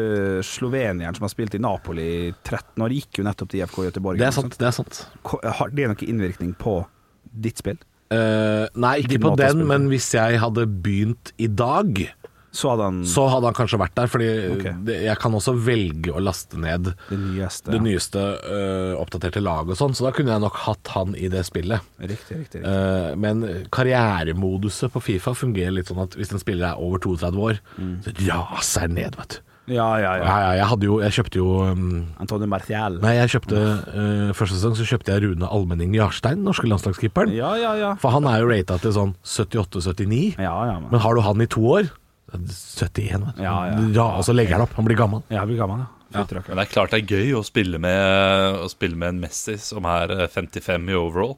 Speaker 4: slovenieren som har spilt i Napoli i 13 år, gikk jo nettopp til IFK Göteborg.
Speaker 3: Det er sant. Det er sant.
Speaker 4: Ko- Har det noen innvirkning på ditt spill?
Speaker 3: Eh, nei, ikke
Speaker 4: Din
Speaker 3: på
Speaker 4: måte å
Speaker 3: den,
Speaker 4: spille på.
Speaker 3: men hvis jeg hadde begynt i dag,
Speaker 4: Så hadde han
Speaker 3: så hadde han kanskje vært der. Fordi
Speaker 4: Ok.
Speaker 3: det, jeg kan også velge å laste ned
Speaker 4: det nyeste.
Speaker 3: det nyeste øh, oppdaterte laget og sånn, så da kunne jeg nok hatt han i det spillet.
Speaker 4: Riktig, riktig. riktig.
Speaker 3: Eh, men karrieremoduset på Fifa fungerer litt sånn at hvis en spiller er over 32 år, så raser den ned, vet du.
Speaker 4: Ja, Mm. ja,
Speaker 3: Ja,
Speaker 4: ja.
Speaker 3: ja, jeg hadde jo Jeg kjøpte jo um,
Speaker 4: Antonio Martial.
Speaker 3: Nei, jeg kjøpte eh, første sesong så kjøpte jeg Rune Almenning Jarstein, norske landslagskeeperen.
Speaker 4: Ja, ja, ja.
Speaker 3: For han er jo rata til sånn 78-79,
Speaker 4: Ja, ja, men.
Speaker 3: men har du han i to år 71, vet du.
Speaker 4: Ja, ja.
Speaker 3: og så legger han opp. Han blir gammel.
Speaker 4: Jeg blir gammel, ja. Fytti rakkeren.
Speaker 5: Men det er klart det er gøy å spille med, å spille med en Messi som er eh, 55 i overall.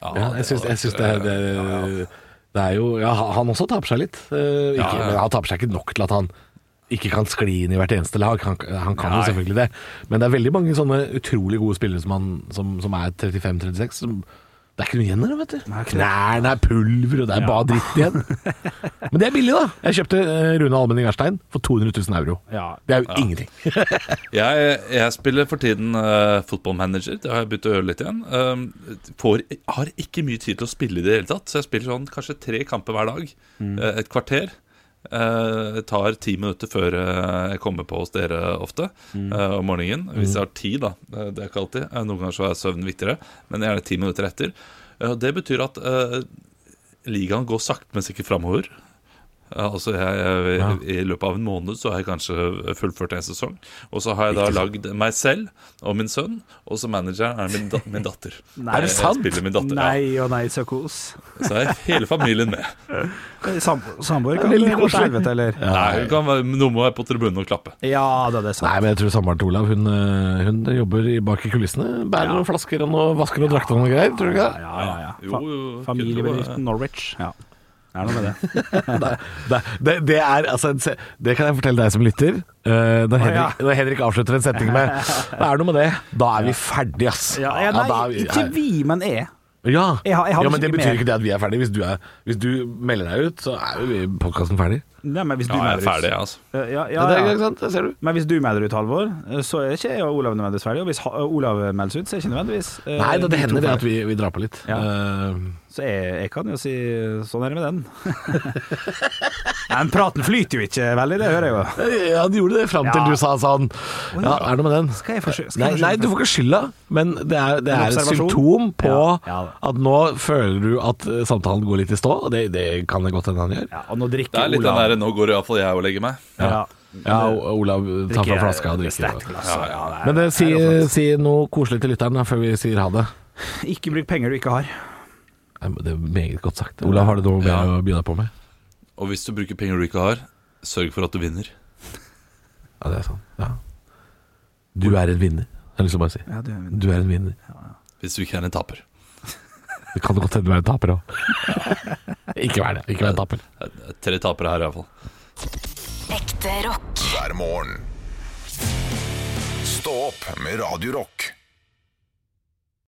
Speaker 3: Ja, jeg syns, jeg syns det, er- det, det er jo ja, Han også taper seg litt. Eh, ikke,
Speaker 5: Ja, ja.
Speaker 3: Men han taper seg ikke nok til at han ikke kan skli inn i hvert eneste lag. Han, han kan jo
Speaker 5: Nei.
Speaker 3: selvfølgelig det. Men det er veldig mange sånne utrolig gode spillere som, han, som, som er 35-36. som det er ikke noe igjen av det, vet du. Knærne er pulver, og det er bare dritt igjen. Men det er billig, da. Jeg kjøpte eh, Rune Almenning Erstein for 200 000 euro.
Speaker 4: Ja.
Speaker 3: Det er jo ingenting.
Speaker 5: Jeg, jeg spiller for tiden uh, fotballmanager. Det har jeg begynt å gjøre litt igjen. Um, får, har ikke mye tid til å spille i det hele tatt, så jeg spiller sånn kanskje tre kamper hver dag. eh, et kvarter. Eh, tar ti minutter før eh, jeg kommer på hos dere ofte
Speaker 4: Mm.
Speaker 5: eh, om morgenen. Hvis jeg har tid, da. Eh, det er ikke alltid. Eh, noen ganger så er søvn viktigere, men gjerne ti minutter etter. Eh, og det betyr at eh, ligaen går sakte, men sikkert framover. Ja, Altså jeg, jeg, I løpet av en måned så har jeg kanskje fullført en sesong. Og så har jeg da lagd meg selv og min sønn, og så manageren er min, da, min datter.
Speaker 4: Nei. Er det
Speaker 5: Jeg
Speaker 3: sant?
Speaker 5: spiller Min datter, ja.
Speaker 4: Nei og nei, så kos.
Speaker 5: Så er hele familien med.
Speaker 4: Sam- Samboer kan
Speaker 3: Det er veldig
Speaker 4: gå til
Speaker 3: koselig.
Speaker 4: helvete, eller?
Speaker 5: Nei, hun kan, være- noen må være på tribunen og klappe.
Speaker 4: Ja da, det er sant.
Speaker 3: Nei, men jeg tror samboeren til Olav hun, eh, hun jobber i- bak i kulissene. Bærer noen flasker og noen vasker og drakter og noe greier, tror du ikke det?
Speaker 4: Ja, ja, ja.
Speaker 5: Jo,
Speaker 4: Fa
Speaker 5: jo,
Speaker 4: familiebedriften Norwich. Ja. Det er noe med det.
Speaker 3: Det, det, det er altså en se- Det kan jeg fortelle deg som lytter. Eh, når, Henrik,
Speaker 4: ja.
Speaker 3: når Henrik avslutter en setning med Det er noe med det. Da er vi ferdige, ass.
Speaker 4: Ja, ja, nei,
Speaker 3: da er vi-
Speaker 4: ikke vi, men jeg.
Speaker 3: Ja,
Speaker 4: Jeg har- jeg har
Speaker 3: ja men
Speaker 4: ikke
Speaker 3: det betyr
Speaker 4: mer.
Speaker 3: ikke det at vi er ferdige. Hvis du, er, hvis du melder deg ut, så er jo podkasten ferdig.
Speaker 4: Nei, men hvis du
Speaker 5: Ja, jeg er
Speaker 4: melder ut-
Speaker 5: ferdig, jeg, altså.
Speaker 4: Ja, ja,
Speaker 3: Ja, det er
Speaker 4: ja.
Speaker 3: ikke sant, det ser du.
Speaker 4: Men hvis du melder ut, Halvor, så er ikke jeg og Olav nødvendigvis ferdig. Og hvis ha Olav meldes ut, så er ikke nødvendigvis eh,
Speaker 3: Nei, det,
Speaker 4: de
Speaker 3: det
Speaker 4: to
Speaker 3: hender det at
Speaker 4: ferdig.
Speaker 3: vi, vi drar på litt.
Speaker 4: Ja.
Speaker 3: Eh,
Speaker 4: Så jeg, jeg kan jo si sånn er det med den. Nei, Men praten flyter jo ikke veldig, det hører jeg jo.
Speaker 3: ja, de gjorde det fram til
Speaker 4: Ja.
Speaker 3: du sa sånn Ja, er det noe med den?
Speaker 4: Skal jeg forsøke- skal
Speaker 3: Nei,
Speaker 4: jeg forsøke
Speaker 3: nei, du får ikke skylda, men det er, det
Speaker 4: En
Speaker 3: er et
Speaker 4: observasjon?
Speaker 3: symptom på
Speaker 4: Ja, ja da.
Speaker 3: at nå føler du at eh, samtalen går litt i stå, og det, det kan det godt hende han gjør.
Speaker 4: Ja, og nå
Speaker 5: Det
Speaker 4: drikker
Speaker 5: er litt den
Speaker 4: Olav
Speaker 5: derre 'nå går iallfall jeg og legger meg'.
Speaker 4: Ja.
Speaker 3: Ja, O- Olav tar fra
Speaker 4: Drikker
Speaker 3: flaska og drikker.
Speaker 4: sterkt glass. Ja, ja, det er-
Speaker 3: Men eh, si,
Speaker 4: det er jo sant.
Speaker 3: si noe koselig til lytteren da, før vi sier ha det.
Speaker 4: sånn. Ikke bruk penger du ikke har.
Speaker 3: Nei, men Det er meget godt sagt. Olav, har du noe mer å by deg på med?
Speaker 5: Og hvis du bruker penger du ikke har, sørg for at du vinner.
Speaker 3: Ja, det er sant. Ja. Du er en vinner, har jeg lyst til å bare si.
Speaker 4: Ja, du,
Speaker 3: Du er en vinner.
Speaker 5: Hvis du ikke er en taper.
Speaker 3: Det kan godt hende du er en taper òg. ikke vær det. Ikke vær en taper.
Speaker 5: Tre tapere her, iallfall.
Speaker 2: Ekte rock.
Speaker 1: hver morgen. Stå opp med Radio Rock.